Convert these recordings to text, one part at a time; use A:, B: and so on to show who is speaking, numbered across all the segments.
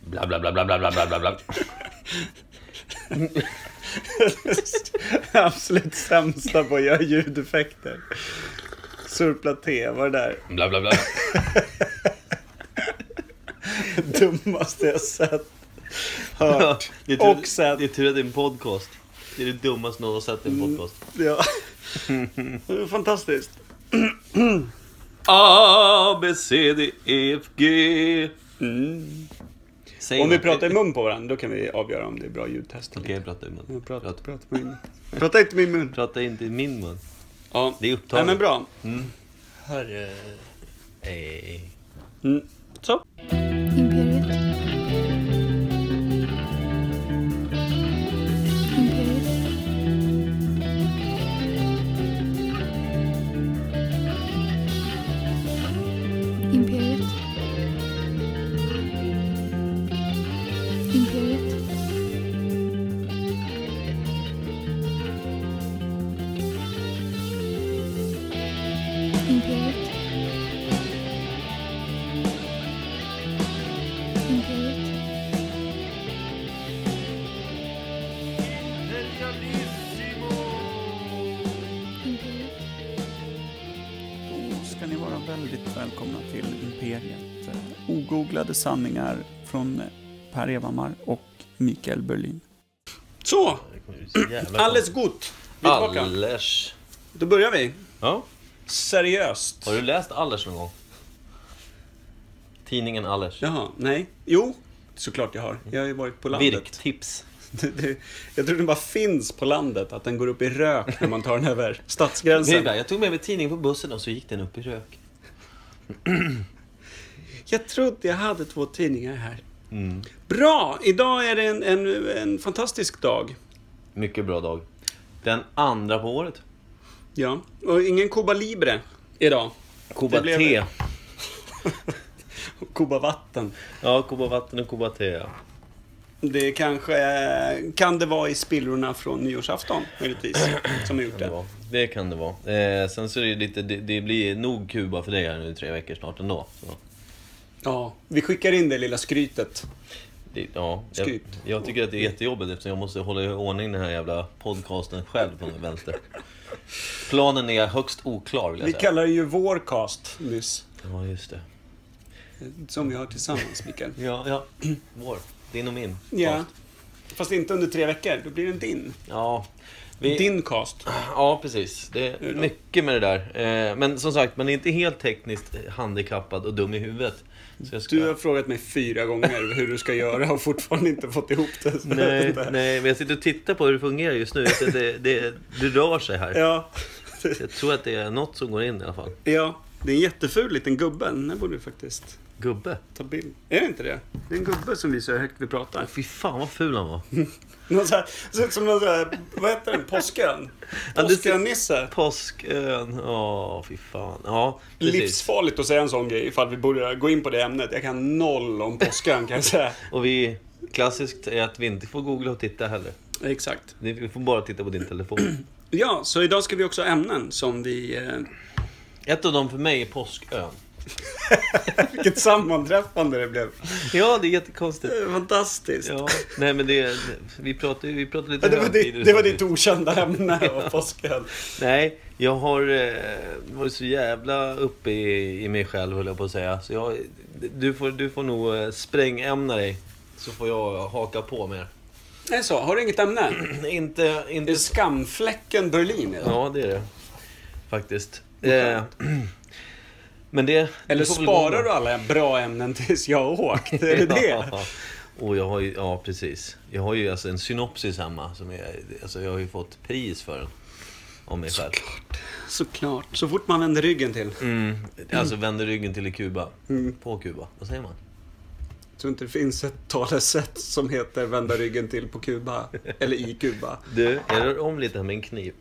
A: Bla, bla, bla, bla, bla, bla, bla, bla, bla.
B: Absolut sämsta på att göra ljudeffekter. Surpla T var det där
A: Bla, bla, bla.
B: dummaste jag sett. Hört.
C: Det är tur-
B: Och sett.
C: Det är tur att det är en podcast. Det är det dummaste någon har sett i en podcast.
B: Ja. Fantastiskt.
C: A, B, C, D, E, F, G. Säg
B: Om vi
C: något.
B: pratar i mun på varandra, då kan vi avgöra om det är bra ljudtest. eller
C: Okej,
B: inte.
C: prata i mun.
B: Ja, Prata,
C: Prata.
B: prata, på min. prata inte i min mun.
C: Prata inte i min mun.
B: Ja.
C: Det är
B: Nej,
C: upptaget.
B: men bra.
C: Hörru. Eh.
B: Mm. Så.
D: Imperiet. Imperiet. Imperiet. Imperiet. Imperiet. Imperiet. Imperiet.
B: Då ska ni vara väldigt välkomna till Imperiet. Eh, Ogooglade sanningar från Per Evhammar och Mikael Berlin. Så,
C: Det kommer bli så jävla
B: alles gott. Vi är
C: konstigt.
B: tillbaka.
C: Allers.
B: Då börjar vi.
C: Ja.
B: Seriöst.
C: Har du läst Allers någon gång? Tidningen Allers.
B: Jaha, nej. Jo, såklart jag har. Jag har ju varit på landet.
C: Virktips.
B: Det- det- Jag tror den bara finns på landet, att den går upp i rök när man tar den över
C: Det är
B: stadsgränsen.
C: bra. Jag tog med mig tidningen på bussen och så gick den upp i rök.
B: Jag trodde jag hade två tidningar här.
C: Mm.
B: Bra! Idag är det en, en, en fantastisk dag.
C: Mycket bra dag. Den andra på året.
B: Ja, och ingen Cuba Libre idag.
C: Kuba
B: Det blev-
C: te.
B: Cuba Vatten.
C: Ja, Kuba vatten och Kuba te. Ja.
B: Det kanske... Kan det vara i spillrorna från nyårsafton, möjligtvis, som har gjort
C: Kan det,
B: det?
C: vara. det kan det vara. Eh, sen så är det lite, det, det blir nog Kuba för dig här nu i tre veckor snart ändå. Så.
B: Ja, vi skickar in det lilla skrytet.
C: Det, ja, jag,
B: Skryt.
C: jag tycker att det är jättejobbigt eftersom jag måste hålla i ordning den här jävla podcasten själv på den vänster. Planen är högst oklar vill jag
B: Vi
C: säga.
B: kallar det ju vår cast nyss, eh,
C: Ja, just det.
B: som vi har tillsammans, Mikael.
C: Ja, ja. Vår. Din och min.
B: Ja.
C: Fast-
B: Fast inte under tre veckor, då blir den din.
C: ja. Vi,
B: Din cast.
C: Ja, precis. Det är
B: Hur då?
C: mycket med det där. Eh, Men som sagt, man är inte helt tekniskt handikappad och dum i huvudet. Så jag ska...
B: Du har frågat mig fyra gånger hur du ska göra och fortfarande inte fått ihop det.
C: Nej, nej, men jag sitter och tittar på hur det fungerar just nu. Jag ser att det, det, det rör sig här.
B: Ja.
C: Jag tror att det är något som går in i alla fall.
B: ja, det är en jätteful liten gubbe. Den här borde du faktiskt
C: Gubbe.
B: ta bild. Är det inte det? Det är en gubbe som visar hur högt vi pratar.
C: Fy fan vad ful han var.
B: Någon så här, ser ut som någon så här, vad heter den? Påskön?
C: Ja, det ser-
B: Påskön-Nisse.
C: Påskön. Ja, fy fan. Ja, precis.
B: Livsfarligt att säga en sån grej ifall vi borde gå in på det ämnet. Jag kan noll om påskön kan jag säga.
C: Och vi... Klassiskt är att vi inte får googla och titta heller.
B: Exakt.
C: Det- Vi får bara titta på din telefon.
B: Ja, så idag ska vi också ha ämnen som vi... Eh,
C: Ett av dem för mig är Påskön.
B: vilket sammanträffande det blev.
C: Ja, det är jättekonstigt.
B: Eh, Fantastiskt.
C: Ja, nej men det, vi pratar ju vi pratar lite
B: Ja, det, var
C: högtider
B: ditt, det var
C: samtidigt.
B: ditt okända ämne av påsken.
C: Nej, jag har eh, varit så jävla uppe i, i mig själv höll jag på att säga. Så jag, du, får, du får nog eh, sprängämna dig. Så får jag haka på mer.
B: Nej, så. Har du inget ämne?
C: Inte...
B: Det
C: inte
B: är skamfläcken Berlin idag.
C: ja, det är det. Faktiskt. Eh, men det...
B: Eller
C: det får väl gå
B: sparar
C: då.
B: du alla bra ämnen tills jag har åkt? Är det det?
C: Ja. Och jag har ju, ja precis. Jag har ju alltså en synopsis hemma. Som är, alltså jag har ju fått pris för den. Om mig själv.
B: Såklart. Så fort man vänder ryggen till.
C: Mm. Alltså vänder ryggen till i Kuba. På Kuba. Vad säger man?
B: Jag tror inte det finns ett talesätt som heter vända ryggen till på Kuba. Eller i Kuba.
C: Du, jag rör om lite här med en kniv.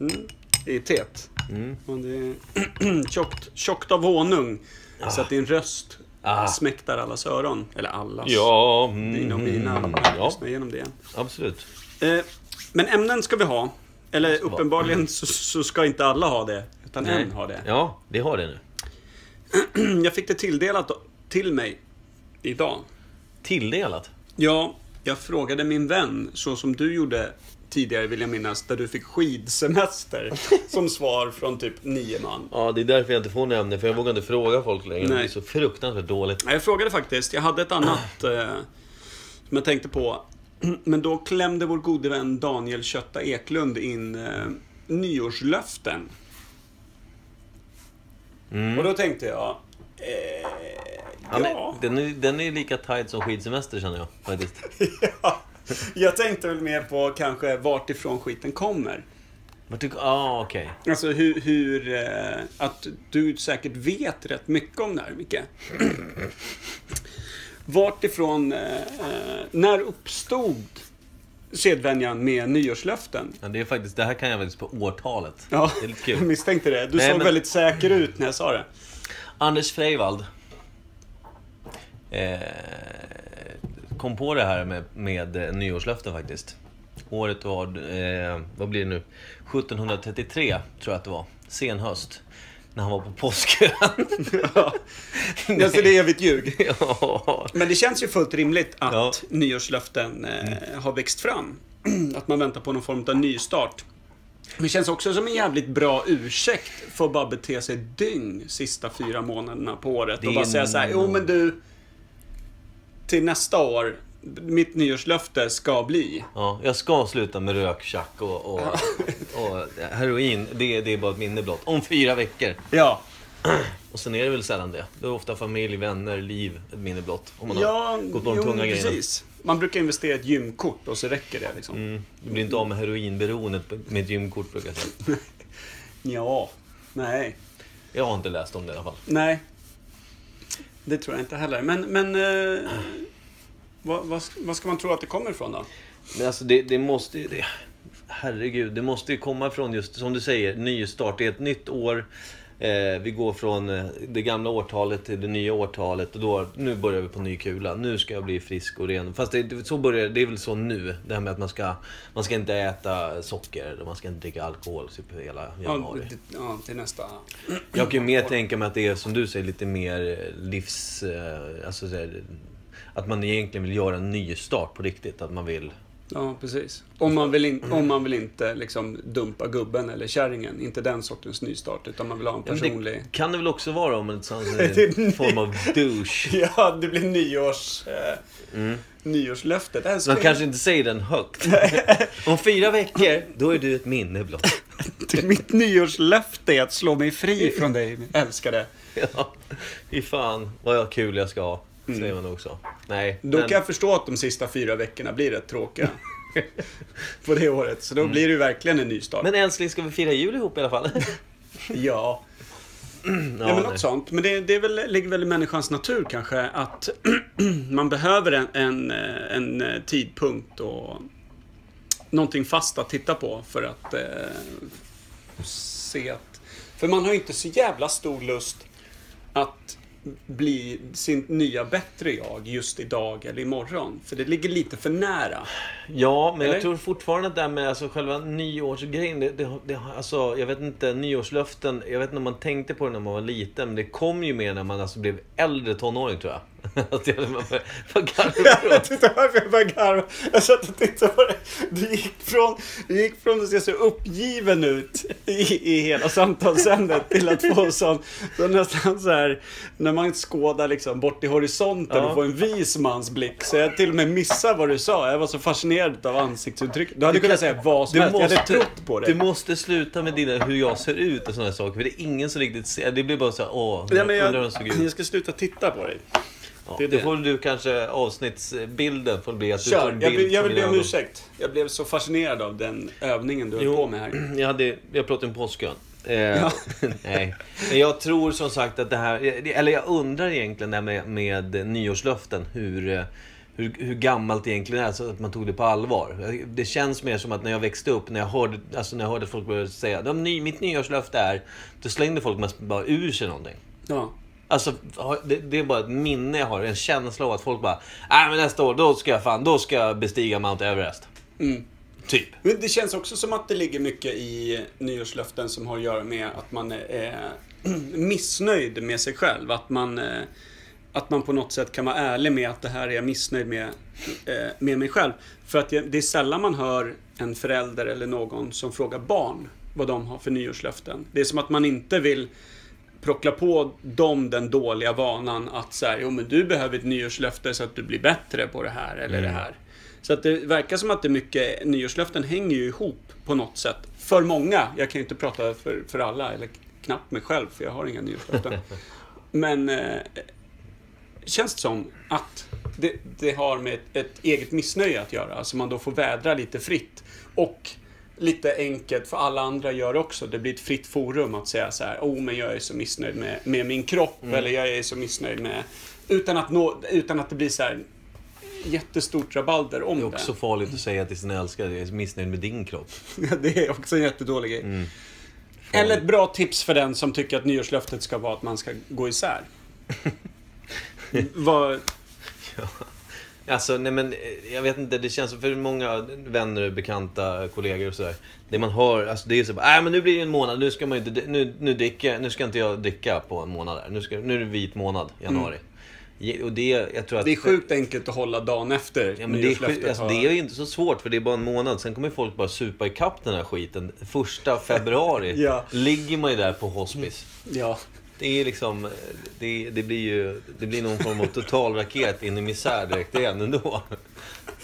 B: Mm. I teet.
C: Mm.
B: Men det är tjockt, tjockt av honung. Så att din röst
C: Ah.
B: smäktar allas öron. Eller allas.
C: Ja, mm,
B: Dina och mina.
C: Ja,
B: Lyssna igenom det.
C: absolut.
B: Eh, men ämnen ska vi ha. Eller uppenbarligen så, så ska inte alla ha det. Utan en har det.
C: Ja, vi har det nu.
B: Jag fick det tilldelat till mig idag.
C: tilldelat.
B: Ja, jag frågade min vän, så som du gjorde tidigare vill jag minnas, där du fick skidsemester som svar från typ nio man.
C: Ja, det är därför jag inte får några ämnen, för jag vågar inte fråga folk längre.
B: Nej.
C: Det är så fruktansvärt dåligt.
B: Nej, Jag frågade faktiskt, jag hade ett annat eh, som jag tänkte på. Men då klämde vår gode vän Daniel Kötta Eklund in eh, nyårslöften. Och då tänkte jag, eh,
C: Mm. Ja, men,
B: ja.
C: den, är, den är lika tight som skidsemester känner jag faktiskt.
B: ja. Jag tänkte väl mer på kanske vart ifrån skiten kommer.
C: Vad tycker... Ah, okej.
B: Alltså hur, hur eh, att du säkert vet rätt mycket om det här, Micke. Vart ifrån, eh, eh, när uppstod sedvänjan med nyårslöften?
C: Ja, det är faktiskt... Det här kan jag faktiskt på årtalet.
B: Ja,
C: Det är lite
B: jag
C: kul.
B: misstänkte det. Du
C: Nej,
B: såg
C: men-
B: väldigt säker ut när jag sa det.
C: Anders Freivald eh, kom på det här med, med eh, nyårslöften faktiskt. Året var, eh, vad blir det nu, 1733 tror jag att det var. Sen höst. När han var på påskön.
B: Ja. Alltså det är evigt ljug.
C: ja.
B: Men det känns ju fullt rimligt att
C: Ja.
B: nyårslöften eh, har växt fram. Att man väntar på någon form av nystart. Men Det känns också som en jävligt bra ursäkt för att bara bete sig dyng sista fyra månaderna på året
C: Det är
B: och bara säga så här, jo men du, till nästa år, mitt nyårslöfte ska bli.
C: Ja, jag ska sluta med rök, tjack och, och, och eh, heroin. Det, det är bara ett minne blott. Om fyra veckor.
B: Ja.
C: Och sen är det väl sällan det. Det är ofta familj, vänner, liv, ett minne blott. Om man
B: Ja,
C: har gått på de
B: jo,
C: tunga grejerna.
B: precis. Man brukar investera i ett gymkort och så räcker det liksom.
C: Mm. Du blir inte av med heroinberoendet på- med ett gymkort brukar jag säga.
B: Ja, nej.
C: Jag har inte läst om det i alla fall.
B: Nej. Det tror jag inte heller. Men, men eh, vad, vad, vad ska man tro att det kommer ifrån då?
C: Men alltså det, det måste ju... Det, herregud, det måste ju komma från just, som du säger, nystart. Det är ett nytt år. Eh, vi går från eh, det gamla årtalet till det nya årtalet. Och då, nu börjar vi på ny kula. Nu ska jag bli frisk och ren. Fast det, det- så börjar, det är väl så nu. Det här med att man ska, man ska inte äta socker eller man ska inte dricka alkohol typ hela
B: Ja,
C: januari.
B: det- ja, till nästa.
C: Jag kan ju mer tänka mig att det är som du säger lite mer livs... eh, Alltså, så här, att man egentligen vill göra en ny start på riktigt. Att man vill...
B: Ja, precis. Om man vill, in, om man vill inte liksom dumpa gubben eller kärringen. Inte den sortens nystart, utan man vill ha en
C: Ja, men
B: personlig...
C: Det kan det väl också vara om en sån
B: Det är
C: en form av douche.
B: Ja, det blir nyårs... Eh, Nyårslöftet. Det här ska
C: Mm. Man
B: ju-
C: kanske inte säger den högt. Om fyra veckor, då är du ett minne blott.
B: Mitt nyårslöfte är att slå mig fri från dig, min älskade.
C: Ja. Fy fan, vad jag kul jag ska ha. Säger man också. Nej.
B: Mm. Då
C: men-
B: kan jag förstå att de sista fyra veckorna blir rätt tråkiga. på det året. Så då blir det ju verkligen en nystart.
C: Mm. Men älskling, ska vi fira jul ihop i alla fall?
B: Ja, ja, men något sånt. Men det, det är väl, ligger väl i människans natur kanske att man behöver en, en, eh, en eh, tidpunkt och någonting fast att titta på för att eh, se att... För man har ju inte så jävla stor lust att bli sin nya bättre jag just idag eller imorgon. För det ligger lite för nära.
C: Ja, men
B: Eller?
C: jag tror fortfarande att det här med alltså, själva nyårsgrejen, det, det, det, alltså, jag vet inte, nyårslöften, jag vet inte om man tänkte på det när man var liten, men det kom ju mer när man alltså, blev äldre tonåring tror jag. Att jag- man var- var garvig då.
B: Titta varför jag började garva. Jag satt och tittade på dig. Du gick från, du gick från att se så uppgiven ut i, i hela samtalsämnet till att få sån, så nästan så här, när man skådar liksom bort i horisonten
C: Ja.
B: och får en vis mans blick. Så jag till och med missade vad du sa. Jag var så fascinerad av ansiktsuttrycket. Du hade kunnat säga vad som
C: Du
B: helst. Jag hade
C: måste-
B: trott på
C: Du
B: dig.
C: måste sluta med dina, hur jag ser ut och sådana saker, för det är ingen som riktigt ser. Det blir bara så här, åh,
B: Ja, men
C: undrar hur
B: jag,
C: de såg
B: jag
C: ut.
B: ska sluta titta på dig.
C: Ja,
B: det är
C: då
B: det.
C: får du kanske avsnittsbilden, får bli att du tar
B: Kör,
C: en
B: jag,
C: bild
B: vill- jag
C: på
B: vill be
C: mina
B: om
C: ögon.
B: ursäkt. Jag blev så fascinerad av den övningen du höll
C: Jo.
B: på med här.
C: Jag, hade, jag pratade om påskön. Eh, nej. Men jag tror som sagt att det här, eller jag undrar egentligen det här med, med nyårslöften, hur, eh, hur, hur gammalt det egentligen är, så att man tog det på allvar. Det känns mer som att när jag växte upp, när jag hörde, alltså när jag hörde folk börja säga "De ny, mitt nyårslöfte är, då slängde folk mest bara ur sig någonting.
B: Ja.
C: Alltså, har- det, det är bara ett minne jag har, en känsla av att folk bara, nej men nästa år, då ska jag fan, då ska jag bestiga Mount Everest. Typ.
B: Men det känns också som att det ligger mycket i nyårslöften som har att göra med att man är missnöjd med sig själv. Att man eh, att man på något sätt kan vara ärlig med att det här är jag missnöjd med, eh, med mig själv. För att jag- det är sällan man hör en förälder eller någon som frågar barn vad de har för nyårslöften. Det är som att man inte vill prockla på dem den dåliga vanan att så här, jo men du behöver ett nyårslöfte så att du blir bättre på det här eller det här. Så att det verkar som att det är mycket, nyårslöften hänger ju ihop på något sätt. För många, jag kan ju inte prata för, för alla, eller knappt mig själv för jag har inga nyårslöften. Men eh, känns det som att det, det har med ett, ett eget missnöje att göra. Alltså man då får vädra lite fritt. Och lite enkelt, för alla andra gör det också. Det blir ett fritt forum att säga så här, oh men jag är så missnöjd med, med min kropp,
C: Mm.
B: eller jag är så missnöjd med... Utan att, nå, utan att det blir så här jättestort rabalder om
C: Det
B: det.
C: är också farligt att säga till sin älskade, jag är missnöjd med din kropp.
B: det är också en jättedålig grej.
C: Mm.
B: Eller ett bra tips för den som tycker att nyårslöftet ska vara att man ska gå isär. Vad...
C: Alltså, nej men eh, jag vet inte, det känns som för många vänner, bekanta, kollegor och sådär. Det man hör, alltså det är så bara, nej men nu blir det en månad, nu ska man inte, nu, nu dricka, nu ska inte jag dricka på en månad här. Nu, ska, nu är det vit månad, januari. Ge- Och Mm. det, jag tror att...
B: Det är sjukt enkelt att hålla dagen efter
C: Ja, men det, är, sjukt- alltså, det är ju inte så svårt för det är bara en månad. Sen kommer folk bara supa ikapp den här skiten. Första februari
B: Ja.
C: ligger man ju där på hospice.
B: Ja.
C: Det är liksom, eh, det, det blir ju, det blir någon form av total raket in i misär direkt igen ändå.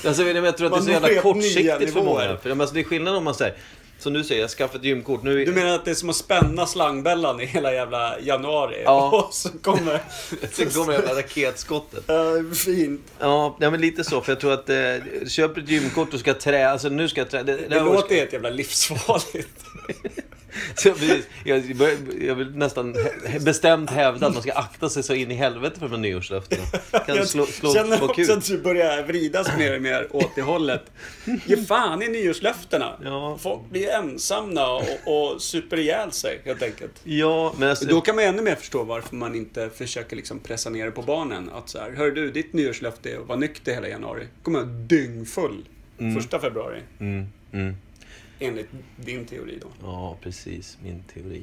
C: Alltså, men jag tror att det är
B: Man
C: så
B: når
C: jävla
B: helt
C: kortsiktigt
B: nya
C: för många.
B: nivåer.
C: För, men alltså, det är skillnad om man säger, som du säger, jag skaffar ett gymkort. Nu är,
B: Du menar att det är som att spänna slangbällan i hela jävla januari?
C: Ja.
B: Och så kommer...
C: Sen kommer det jävla raketskottet.
B: Uh, fint.
C: Ja, nej, men lite så. För jag tror att, eh, köper ett gymkort och ska trä, alltså nu ska jag trä. det- det
B: Det
C: här året-
B: låter helt jävla livsfarligt.
C: Så precis. jag, bör- jag vill nästan he- bestämt hävda att man ska akta sig så in i helvete för de här nyårslöftena. Kan
B: Jag
C: slå, slå,
B: känner
C: slå
B: också
C: kul.
B: att du börjar vridas mer och mer åt det hållet. Ge fan i nyårslöftena.
C: Ja.
B: Folk blir ensamma och, och super ihjäl sig helt enkelt.
C: Ja, men alltså,
B: Då kan man ännu mer förstå varför man inte försöker liksom pressa ner det på barnen. Att så här, hör du, ditt nyårslöfte är att vara nykter hela januari. kommer jag dyngfull första februari.
C: mm, mm.
B: Enligt din teori då.
C: Ja, precis. Min teori.
B: Men,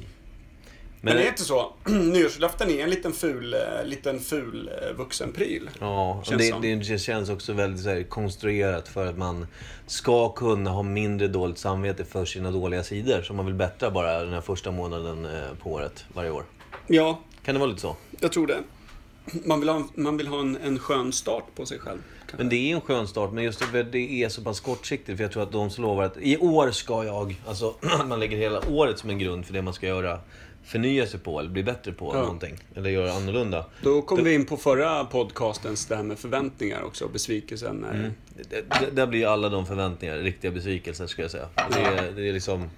C: Men,
B: det är inte så. Nyårslöften är en liten ful, eh, liten ful eh, vuxenpryl.
C: ja,
B: Känns
C: det,
B: som.
C: det, det känns också väldigt så här, konstruerat för att man ska kunna ha mindre dåligt samvete för sina dåliga sidor som man vill bättra bara den här första månaden eh, på året, varje år.
B: Ja,
C: Kan det vara lite så?
B: jag tror det. Man vill ha, en- man vill ha en, en skön start på sig själv. kanske.
C: Men det är en skön start, men just det, för det är så pass kortsiktigt. För jag tror att de som lovar att i år ska jag... Alltså, man lägger hela året som en grund för det man ska göra. Förnya sig på, eller bli bättre på,
B: Ja.
C: någonting. Eller göra annorlunda.
B: Då kom vi in på förra podcastens det här med förväntningar också, och besvikelsen. När,
C: Det- det- Där blir ju alla de förväntningar riktiga besvikelser, skulle jag säga. Det är, det är liksom...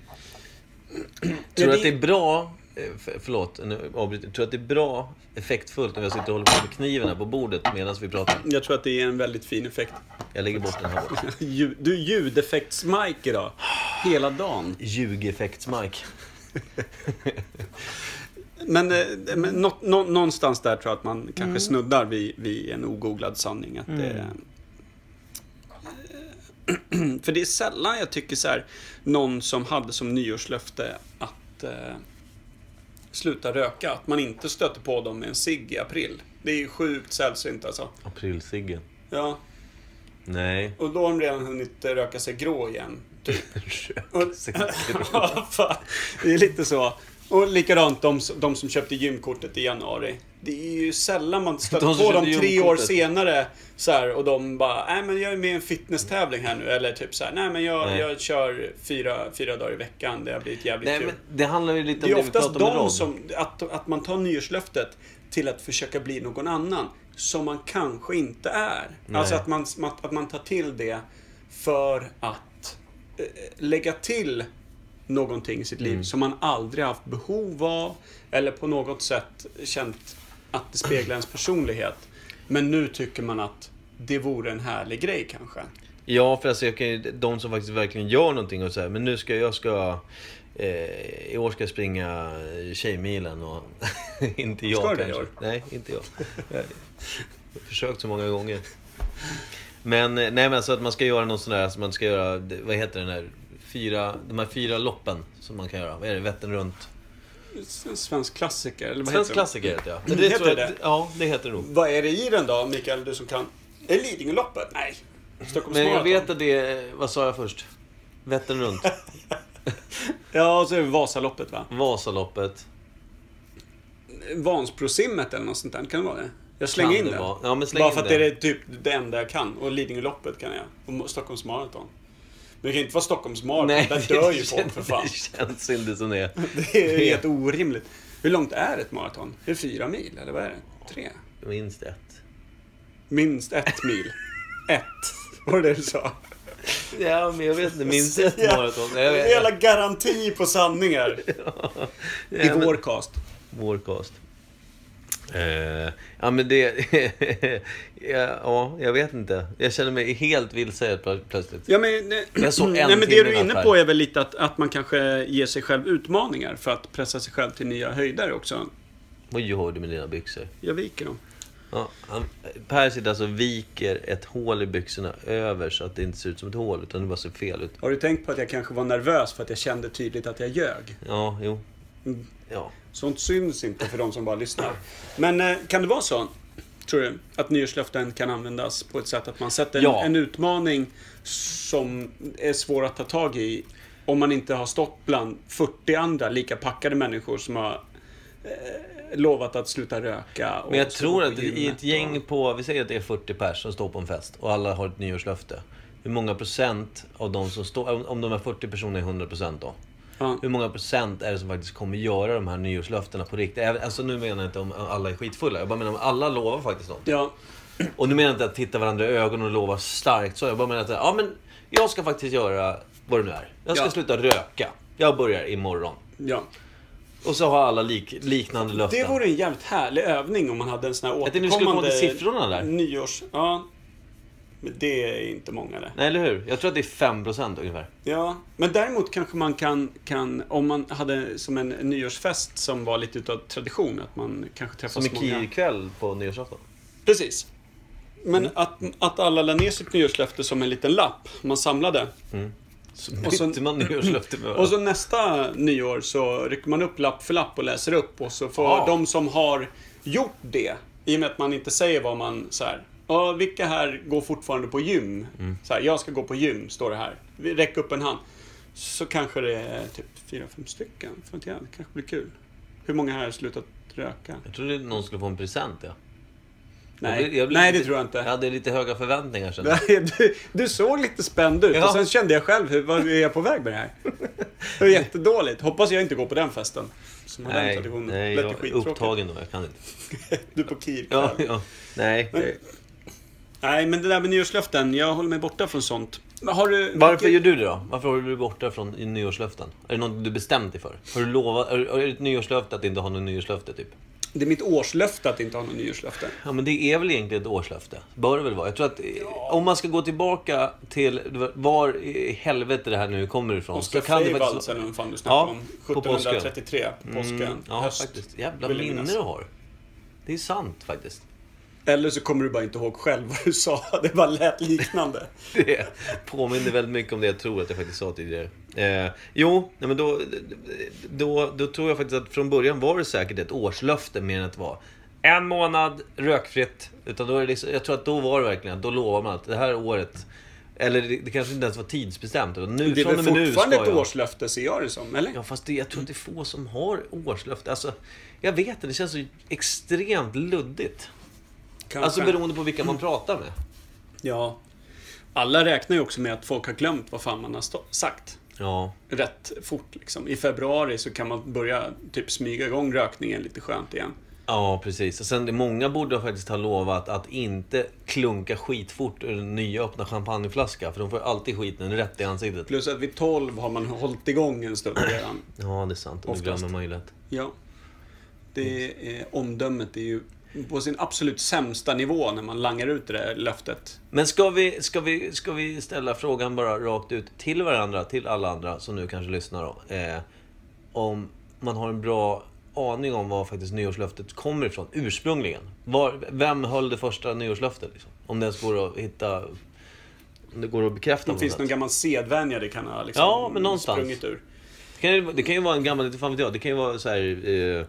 C: Tror du
B: det-
C: att det är bra... eh, för- Förlåt, nu avbryter jag. Tror du att det är bra, effektfullt, när jag sitter och håller på med kniven här på bordet medan vi pratar?
B: Jag tror att det är en väldigt fin effekt.
C: Jag lägger bort den här borta.
B: Ljud, du är ljudeffekts-Mike idag. Hela dagen.
C: Ljugeffekts-Mike.
B: Men, eh, men nå, nå, någonstans där tror jag att man kanske snuddar vid, vid en ogooglad sanning. Att det, Eh, för det är sällan jag tycker så här, någon som hade som nyårslöfte att eh, sluta röka, att man inte stöter på dem med en cigg i april. Det är ju sjukt sällsynt alltså.
C: Aprilsiggen.
B: Ja,
C: Nej.
B: och då har de redan hunnit eh, röka sig grå igen. Och, Ja, fan. det är lite så. Och likadant de, s- de som köpte gymkortet i januari. Det är ju sällan man stöter
C: De som
B: på dem
C: köpte
B: tre år
C: gymkortet.
B: senare så här, och de bara nej men jag är med i en fitnesstävling här nu eller typ så här, nej men jag,
C: Nej.
B: jag kör fyra, fyra dagar i veckan, det har blivit jävligt
C: Nej,
B: kul.
C: men det handlar ju lite
B: Det är
C: om det vi
B: oftast
C: pratade om med
B: de
C: Rob.
B: som, att, att man tar nyårslöftet till att försöka bli någon annan som man kanske inte är. Alltså att man, att man tar till det för att eh, lägga till någonting i sitt liv
C: Mm.
B: som man aldrig haft behov av eller på något sätt känt att det speglar ens personlighet. Men nu tycker man att det vore en härlig grej kanske.
C: Ja, för alltså, jag kan, ju- de som faktiskt verkligen gör någonting och säger men nu ska jag ska... Eh, I år ska jag springa Tjejmilen och... inte jag
B: Ska du det i
C: kanske.
B: år?
C: Nej, inte jag. jag har försökt så många gånger. Men, eh, nej men alltså att man ska göra någon sån där, alltså man ska göra, vad heter den där, fyra, de här fyra loppen som man kan göra. Vad är det? Vättern runt?
B: en svensk klassiker. Eller vad
C: Svensk
B: heter den?
C: klassiker heter jag.
B: Mm, heter
C: tror jag
B: det?
C: att- Ja, det heter det nog.
B: Vad är det i den då, Mikael? Du som kan... Är det Lidingöloppet? Nej. Stockholms
C: Men jag
B: Marathon.
C: vet att det är... Vad sa jag först? Vättern runt.
B: Ja, och så är det Vasaloppet va?
C: Vasaloppet.
B: Vansbrosimmet eller något sånt där. Kan det vara det? Jag slänger
C: Kan
B: in
C: det
B: det.
C: vara? Ja, men släng
B: Bara
C: in
B: för att
C: det.
B: det är det typ det enda jag kan. Och Lidingöloppet kan jag. Och Stockholms Marathon. Men det kan inte vara Stockholms Marathon. Där dör ju folk för fan.
C: Det känns inte som det.
B: Det är ju helt orimligt. Hur långt är ett maraton? Är det fyra mil eller vad är det? Tre?
C: Minst ett.
B: Minst ett mil. Ett. Var det det du sa?
C: Ja, men jag vet inte. Minst ett
B: Ja.
C: maraton. Jag vet-
B: Hela garanti på sanningar. I
C: Ja, men-
B: vår cast.
C: Vårcast. Eh, ja men det... ja, ja, jag vet inte. Jag känner mig helt vilse helt plö- plötsligt.
B: Ja, men, nej,
C: Jag såg en
B: nej, men
C: timme
B: det du är
C: innan
B: inne
C: här.
B: på är väl lite att, att man kanske ger sig själv utmaningar för att pressa sig själv till nya höjder också.
C: Vad gör du med dina byxor?
B: Jag viker dem.
C: Ja, han, per sitter alltså och viker ett hål i byxorna över så att det inte ser ut som ett hål utan det bara ser fel ut.
B: Har du tänkt på att jag kanske var nervös för att jag kände tydligt att jag ljög?
C: Ja, jo.
B: Mm.
C: Ja.
B: Sånt syns inte för de som bara lyssnar. Men eh, kan det vara så, tror du, att nyårslöften kan användas på ett sätt att man sätter en,
C: Ja.
B: en utmaning som är svår att ta tag i om man inte har stått bland 40 andra lika packade människor som har eh, lovat att sluta röka. och
C: Men jag
B: så
C: tror
B: gå
C: att
B: på
C: i
B: gymmet
C: ett gäng på, vi säger att det är 40 pers som står på en fest och alla har ett nyårslöfte. Hur många procent av de som står, om- om de här 40 personerna är 100 procent då?
B: Ja.
C: Hur många procent är det som faktiskt kommer göra de här nyårslöftena på riktigt? Även- Alltså nu menar jag inte om alla är skitfulla. Jag bara menar om alla lovar faktiskt något.
B: Ja,
C: Och nu menar jag inte att titta varandra i ögonen och lova starkt så. Jag bara menar att ja, men jag ska faktiskt göra vad det nu är. Jag ska
B: Ja.
C: sluta röka. Jag börjar imorgon.
B: ja.
C: Och så har alla lik, liknande löften.
B: Det vore en jävligt härlig övning om man hade en sån här
C: Jag tänkte vi skulle komma
B: återkommande
C: till siffrorna där.
B: nyårs... Ja. Men det är inte många det.
C: Nej, eller hur? Jag tror att det är 5% ungefär.
B: Ja, men däremot kanske man kan, kan, om man hade som en nyårsfest som var lite utav tradition, att man kanske
C: Som
B: träffas
C: en
B: många.
C: kirkväll på nyårsafton.
B: Precis. Men
C: Mm.
B: att, att alla la ner sitt nyårslöfte som en liten lapp man samlade.
C: Mm. Så
B: Och så-
C: bytte man nyårslöfte med
B: Och så nästa nyår så rycker man upp lapp för lapp och läser upp och så får
C: Ja.
B: de som har gjort det, i och med att man inte säger vad man så här. Ja, vilka här går fortfarande på gym?
C: Mm.
B: Så här, jag ska gå på gym, står det här. Vi- Räck upp en hand. Så kanske det är typ fyra, fem stycken. För att jag, det kanske blir kul. Hur många här har slutat röka?
C: Jag trodde någon skulle få en present, ja.
B: Nej,
C: Jag blir- jag blir
B: Nej det
C: lite-
B: tror jag inte.
C: Jag hade lite höga förväntningar sen.
B: Nej, du, du såg lite spänd ut
C: Ja.
B: och sen kände jag själv, hur, vad är jag på väg med det här? Det var jättedåligt. Hoppas jag inte går på den festen. Som har den
C: Nej,
B: traditionen.
C: nej
B: Lät ju
C: jag är
B: skittråkigt.
C: upptagen då. Jag kan inte.
B: Du är på Kiev
C: Ja,
B: själv.
C: ja. Nej.
B: Men- Nej, men det där med nyårslöften, jag håller mig borta från sånt. Men Har du...
C: Varför gör
B: vilket-
C: du det då? Varför håller du dig borta från nyårslöften? Är det något du bestämt dig för? Har du lovat, är, är det ett nyårslöfte att inte ha något nyårslöfte typ?
B: Det är mitt årslöfte att inte ha något nyårslöfte.
C: Ja men det är väl egentligen ett årslöfte? Bör det väl vara? Jag tror att eh, om man ska gå tillbaka till var i helvete det här nu kommer ifrån.
B: Oscar
C: så kan det
B: Freivalds
C: faktiskt-
B: eller vad fan du snackar
C: Ja,
B: om.
C: på påsken.
B: 1733, på påsken.
C: Mm, ja
B: höst,
C: faktiskt. Jävla
B: vill jag
C: minne
B: minnas.
C: du har. Det är sant faktiskt.
B: Eller så kommer du bara inte ihåg själv vad du sa. Det bara lät liknande.
C: Det påminner väldigt mycket om det jag tror att jag faktiskt sa tidigare. Eh, jo, nej, men då, då, då tror jag faktiskt att från början var det säkert ett årslöfte mer än att det var en månad rökfritt. Utan då är det liksom, jag tror att då var det verkligen att då lovar man att det här året eller det, det kanske inte ens var tidsbestämt. Utan nu,
B: Det är
C: från
B: väl
C: och med nu
B: fortfarande
C: ska
B: ett
C: jag-
B: årslöfte, ser jag det som. Eller?
C: Ja, fast det, jag tror att det är få som har årslöfte. Alltså, jag vet inte, det känns så extremt luddigt.
B: Kanske.
C: Alltså beroende på vilka man pratar med.
B: Ja. Alla räknar ju också med att folk har glömt vad fan man har stå- sagt.
C: Ja,
B: Rätt fort liksom. I februari så kan man börja typ smyga igång rökningen lite skönt igen.
C: Ja, precis. Och sen, det- många borde faktiskt ha lovat att inte klunka skitfort ur den nya öppna champagneflaska. För de får ju alltid skiten rätt i ansiktet.
B: Plus att vid 12 har man hållit igång en stund redan.
C: Ja, det är sant. Och det
B: Oftast.
C: glömmer man ju lätt.
B: Ja. Det är, omdömet är ju på sin absolut sämsta nivå när man langar ut det där löftet.
C: Men ska vi, ska, vi, ska vi ställa frågan bara rakt ut till varandra, till alla andra som nu kanske lyssnar då. Eh, om man har en bra aning om var faktiskt nyårslöftet kommer ifrån ursprungligen. Var, vem höll det första nyårslöftet? Liksom? Om det ens går att hitta... Om det går att bekräfta
B: Det
C: på
B: finns
C: något
B: någon
C: sätt.
B: gammal sedvänja det kan ha liksom
C: Ja, men någonstans.
B: sprungit ur.
C: kan det, det kan ju vara en gammal, inte fan vet jag, det kan ju vara så här... Eh,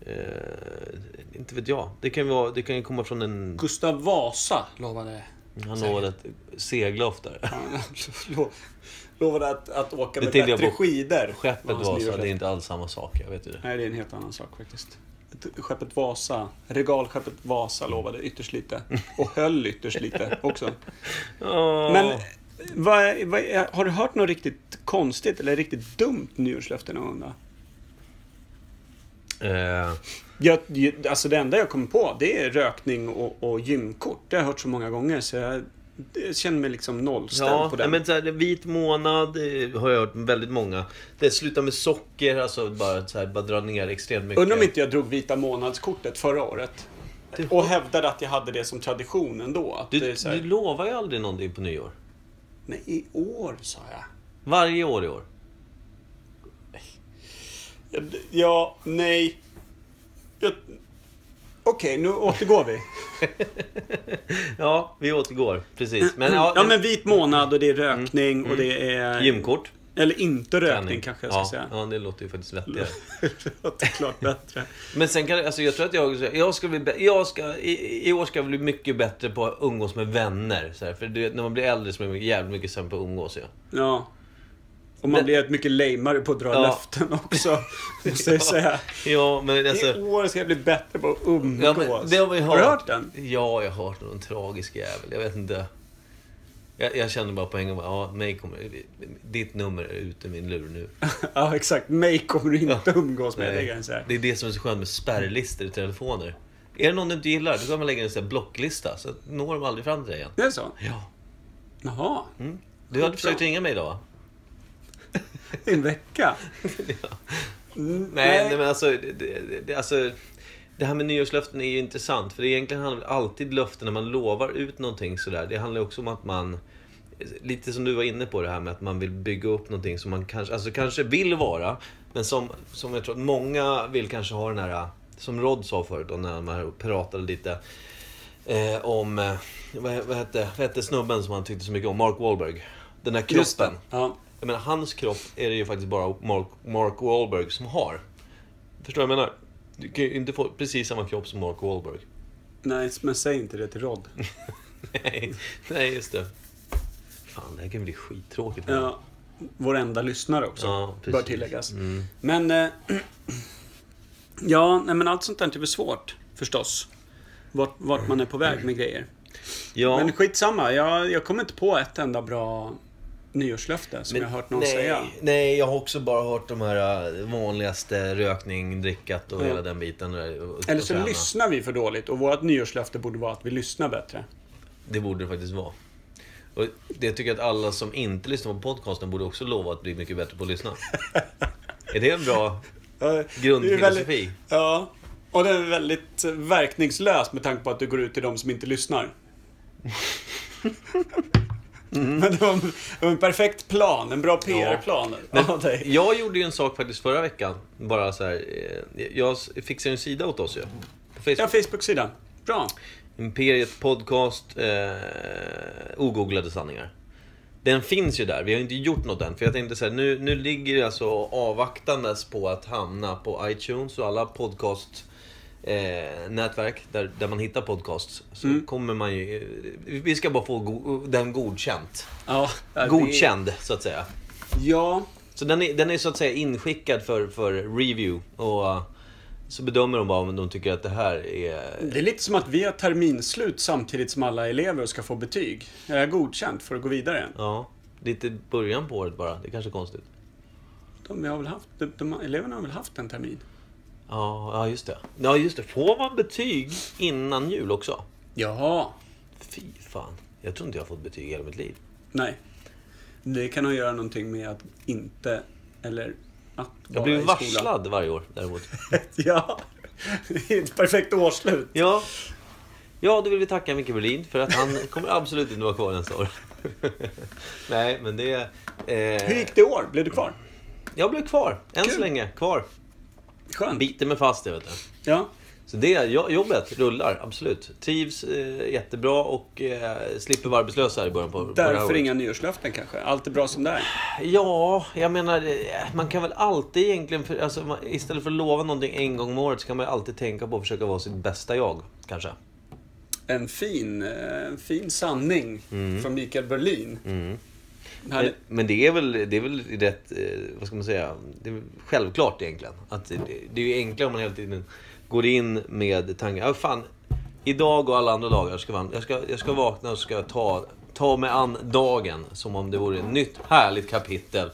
C: eh, inte vet jag. Det kan ju vara, det kan ju komma från en...
B: Gustav Vasa lovade...
C: Han lovade att segla oftare.
B: han lo- lovade att, att åka med
C: Det tänkte jag
B: bättre
C: på.
B: skidor.
C: Skeppet
B: var hans
C: var så,
B: nyårslöfte.
C: det är inte alls samma sak, jag vet ju det.
B: Nej, det är en helt annan sak faktiskt. Ett- Skeppet Vasa, regalskeppet Vasa lovade ytterst lite. Och höll ytterst lite också.
C: Åh.
B: Men vad, är- vad, är- har du hört något riktigt konstigt eller riktigt dumt nyårslöfte någon gång? då?
C: Eh,
B: Jag, jag- alltså det enda jag kommer på det är rökning och, och gymkort. Det har jag hört så många gånger så jag, jag känner mig liksom nollställd
C: ja,
B: på
C: nej,
B: den.
C: men så här, vit månad eh, har jag hört väldigt många. Det slutar med socker, alltså bara, så här, bara dra ner extremt mycket.
B: Undrar om inte jag drog vita månadskortet förra året. Och hävdade att jag hade det som tradition ändå. Att
C: Du,
B: det är så här,
C: du lovar ju aldrig någonting på nyår.
B: Nej, i år sa jag.
C: Varje år i år.
B: Ja, nej. Jag... Okej, nu återgår vi.
C: Ja, vi återgår. Precis. Men, ja,
B: Mm,
C: Mm.
B: Ja, men vit månad och det är rökning och det är...
C: Gymkort.
B: Eller inte rökning
C: träning.
B: kanske jag ska
C: ja,
B: säga.
C: Ja, det låter ju faktiskt vettigare.
B: Det låter klart bättre.
C: Men sen kan det- alltså jag tror att jag, jag ska bli bä- jag ska, i, i år ska jag bli mycket bättre på att umgås med vänner. Så här, för du vet, när man blir äldre så blir man jävligt mycket sämre på att umgås. Ja.
B: Ja. Och man
C: Men-
B: blir ett mycket lejmare på att dra
C: Ja.
B: löften också. Måste jag säga.
C: Ja, men alltså...
B: I år ska jag bli bättre på att umgås.
C: Ja, men det har, vi hört.
B: du hört den?
C: Ja, jag har hört någon tragisk jävel. Jag vet inte. Jag, jag kände bara på en gång, ja, mig kommer, ditt nummer är ute i min lur nu.
B: Ja, exakt. Mig kommer du inte
C: Ja.
B: umgås med.
C: Nej.
B: Det kan jag säga.
C: Det är det som är så skönt med spärrlistor i telefoner. Är det någon du inte gillar, då kan man lägga en sån här blocklista. Så når de aldrig fram till dig igen.
B: Det är så?
C: Ja.
B: Jaha.
C: Mm. Du hade försökt ringa mig idag va?
B: I en vecka? Mm,
C: Nej, nej. men alltså det, det, det, alltså... det här med nyårslöften är ju intressant. För det egentligen handlar väl alltid löften när man lovar ut någonting sådär. Det handlar ju också om att man... Lite som du var inne på det här med att man vill bygga upp någonting som man kanske, alltså kanske vill vara. Men som, som jag tror att många vill kanske ha den här... Som Rod sa förut då, när man pratade lite eh, om... eh, Vad, vad, hette, vad hette snubben som han tyckte så mycket om? Mark Wahlberg. Den här
B: Just det.
C: kroppen.
B: Ja.
C: Jag menar, hans kropp är det ju faktiskt bara Mark, Mark Wahlberg som har. Förstår du vad jag menar? Du kan ju inte få precis samma kropp som Mark Wahlberg.
B: Nej, men säg inte det till Rod.
C: Nej, nej just det. Fan, det här kan bli skittråkigt.
B: Ja, vår enda lyssnare också,
C: Ja, precis.
B: bör tilläggas.
C: Mm.
B: Men... Eh, ja, nej, men allt sånt där är väl svårt, förstås. Vart, vart man är på väg med grejer.
C: Ja,
B: Men skitsamma, jag, jag kommer inte på ett enda bra nyårslöfte som
C: men-
B: jag har hört någon
C: nej,
B: säga.
C: Nej, jag har också bara hört de här eh, vanligaste rökning, drickat och
B: Ja.
C: hela den biten. Och, och
B: Eller så
C: träna.
B: lyssnar vi för dåligt och vårt nyårslöfte borde vara att vi lyssnar bättre.
C: Det borde det faktiskt vara. Och det tycker jag att alla som inte lyssnar på podcasten borde också lova att bli mycket bättre på att lyssna. är det en bra
B: Det är väldigt-
C: grundfilosofi?
B: Ja, och det är väldigt verkningslöst med tanke på att du går ut till de som inte lyssnar. Men det var, en, det var en perfekt plan, en bra PR-plan av dig.
C: Jag gjorde ju en sak faktiskt förra veckan. Bara så här, eh, jag fixade en sida åt oss ju. På
B: Ja,
C: Facebook.
B: Facebook-sidan. Bra.
C: Imperiet Podcast, eh, ogooglade sanningar. Den finns ju där, vi har inte gjort något än. För jag tänkte så här, nu, nu ligger det alltså avvaktandes på att hamna på iTunes och alla podcast eh, nätverk där, där man hittar podcasts. Så
B: Mm.
C: kommer man ju... eh, Vi ska bara få go- den godkänt.
B: Ja,
C: Godkänd, så att säga.
B: Ja,
C: Så den är, den är så att säga inskickad för, för review. Och eh, så bedömer de bara om de tycker att det här är...
B: det är lite som att vi har terminslut samtidigt som alla elever ska få betyg. Är jag godkänt för att gå vidare?
C: Ja, lite början på året bara. Det är kanske är konstigt.
B: De, har väl haft, de, de, eleverna har väl haft en termin?
C: Ja, ja, just det. Ja, just det. Får man betyg innan jul också?
B: Jaha.
C: Fy fan. Jag tror inte jag har fått betyg i hela mitt liv.
B: Nej. Det kan ha att göra någonting med att inte, eller att
C: Jag
B: vara
C: blir
B: i skolan.
C: varslad varje år däremot.
B: ja. Det är ett perfekt årsslut.
C: Ja. Ja, då vill vi tacka Micke Berlin för att han kommer absolut inte vara kvar nästa år. Nej, men det... Eh,
B: Hur gick det i år? Blev du kvar?
C: Jag blev kvar. Än så
B: Kul.
C: länge. Kvar.
B: Skönt.
C: Biter mig fast, jag vet du.
B: Ja.
C: Så det, jo- jobbet rullar, absolut. Trivs eh, jättebra och eh, slipper vara arbetslös här i början på, på det här
B: Därför
C: året.
B: inga nyårslöften kanske? Allt är bra som det är?
C: Ja, jag menar, eh, man kan väl alltid egentligen, för, alltså, man, istället för att lova någonting en gång om året så kan man ju alltid tänka på att försöka vara sitt bästa jag, kanske.
B: En fin, eh, en fin sanning
C: Mm.
B: från Mikael Berlin.
C: Men,
B: Härligt.
C: Eh, men det är väl, det är väl rätt, eh, vad ska man säga, det är väl självklart egentligen. Att det, det är ju enklare om man hela tiden går in med tanken, ja fan, idag och alla andra dagar ska man, jag ska, jag ska vakna och ska jag ta, ta mig an dagen som om det vore ett nytt härligt kapitel.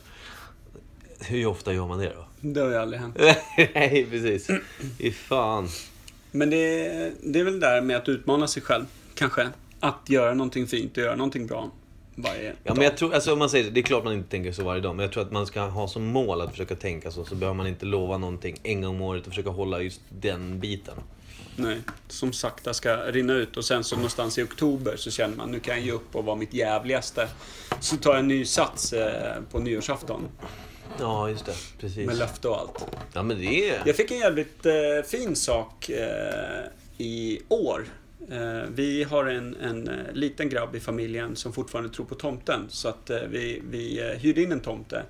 C: Hur ofta gör man det då?
B: Det har ju aldrig hänt.
C: Nej, precis. Fy fan.
B: Men det, det är väl det där med att utmana sig själv, kanske. Att göra någonting fint och göra någonting bra varje
C: Ja,
B: dag.
C: men jag tror, alltså, om man säger så, det är klart man inte tänker så varje dag, men jag tror att man ska ha som mål att försöka tänka så, så behöver man inte lova någonting en gång om året och försöka hålla just den biten.
B: Nej, som sakta ska rinna ut och sen så någonstans i oktober så känner man nu kan jag ge upp och vara mitt jävligaste. Så tar jag en ny sats eh, på nyårsafton
C: Ja, just det. Precis.
B: med löfte och allt.
C: ja, men det är...
B: Jag fick en jävligt eh, fin sak eh, i år. Eh, vi har en, en eh, liten grabb i familjen som fortfarande tror på tomten. Så att eh, vi, vi eh, hyrde in en tomte.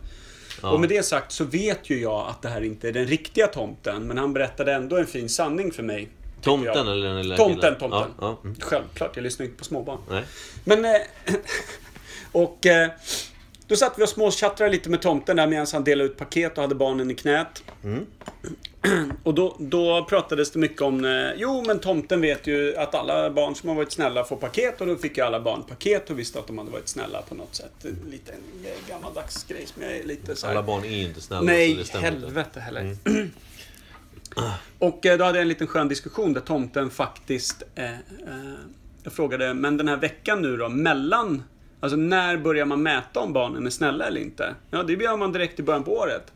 C: Ja.
B: Och med det sagt så vet ju jag att det här inte är den riktiga tomten. Men han berättade ändå en fin sanning för mig. tyckte jag.
C: Tomten eller den lilla
B: Tomten,
C: killen?
B: tomten.
C: Ja, ja. Mm.
B: Självklart, jag lyssnar inte på småbarn.
C: Nej.
B: Men... eh, Och... eh, Då satt vi och småtjattrade lite med tomten där medan han delade ut paket och hade barnen i knät. Och då, då pratades det mycket om... eh, Jo, men tomten vet ju att alla barn som har varit snälla får paket och då fick ju alla barn paket och visste att de hade varit snälla på något sätt. En liten eh, gammaldags grej som jag är lite så här...
C: Alla barn är ju inte snälla. så
B: Nej,
C: det stämmer inte. Mm.
B: helvete heller. Och eh, då hade jag en liten skön diskussion där tomten faktiskt... Eh, eh, jag frågade, men den här veckan nu då, mellan... Alltså när börjar man mäta om barnen är snälla eller inte? Ja, det gör man direkt i början på året.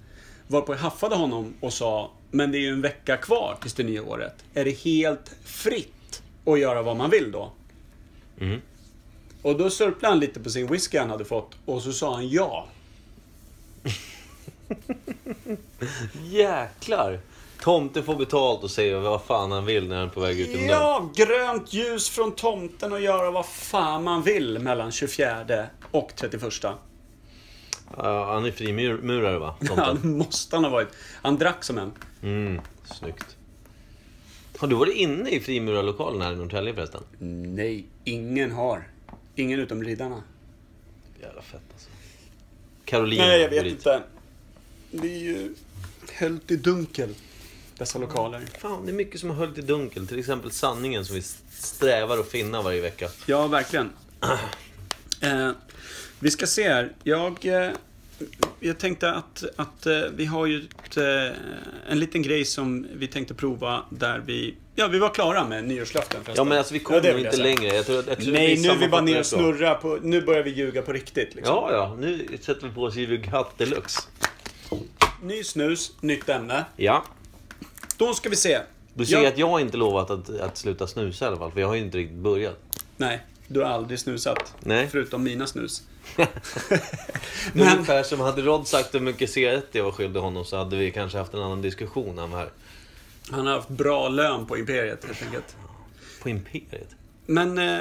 B: Varpå jag haffade honom och sa, men det är ju en vecka kvar tills det nya året. Är det helt fritt att göra vad man vill då?
C: Mm.
B: Och då sörplade han lite på sin whisky han hade fått och så sa han ja.
C: Jäklar! Tomten får betalt och säger vad fan han vill när han är på väg ut genom dörren.
B: Ja, grönt ljus från tomten och göra vad fan man vill mellan 24 och 31.
C: Ja, han är frimurare va?
B: Ja,
C: Tomten.
B: det måste han ha varit. Han drack som en.
C: Mm, snyggt. Har du varit inne i frimurarlokalen här i Norrtälje förresten?
B: Nej, ingen har. Ingen utom riddarna.
C: Jävla fett alltså. Caroline
B: Nej, jag vet
C: går dit.
B: inte. Det är ju höllt i dunkel, dessa lokaler.
C: Fan, det är mycket som har höllt i dunkel. Till exempel sanningen som vi strävar att finna varje vecka.
B: Ja, verkligen. Eh, vi ska se här. Jag, eh, jag tänkte att, att eh, vi har ju ett, eh, en liten grej som vi tänkte prova där vi... Ja, vi var klara med nyårslöften förresten.
C: Ja men alltså vi
B: Ja,
C: kommer
B: det
C: nog
B: vill jag
C: inte
B: säga.
C: längre. Jag tror, jag tror
B: Nej, nu är vi bara
C: sammanfattar
B: ner
C: det
B: och
C: så.
B: snurrar på... Nu börjar vi ljuga på riktigt liksom.
C: Ja, ja. Nu sätter vi på oss Juve Gatt deluxe.
B: Ny snus, nytt ämne.
C: Ja.
B: Då ska vi se.
C: Du ser
B: Ja.
C: att jag har inte lovat att, att sluta snusa i alla fall. För jag har ju inte riktigt börjat.
B: Nej, du har aldrig snusat.
C: Nej.
B: Förutom mina snus.
C: Men... Ungefär som hade Rod sagt hur mycket cigaretter jag var skyldig honom så hade vi kanske haft en annan diskussion än här.
B: Han har haft bra lön på Imperiet helt enkelt.
C: På Imperiet.
B: Men eh,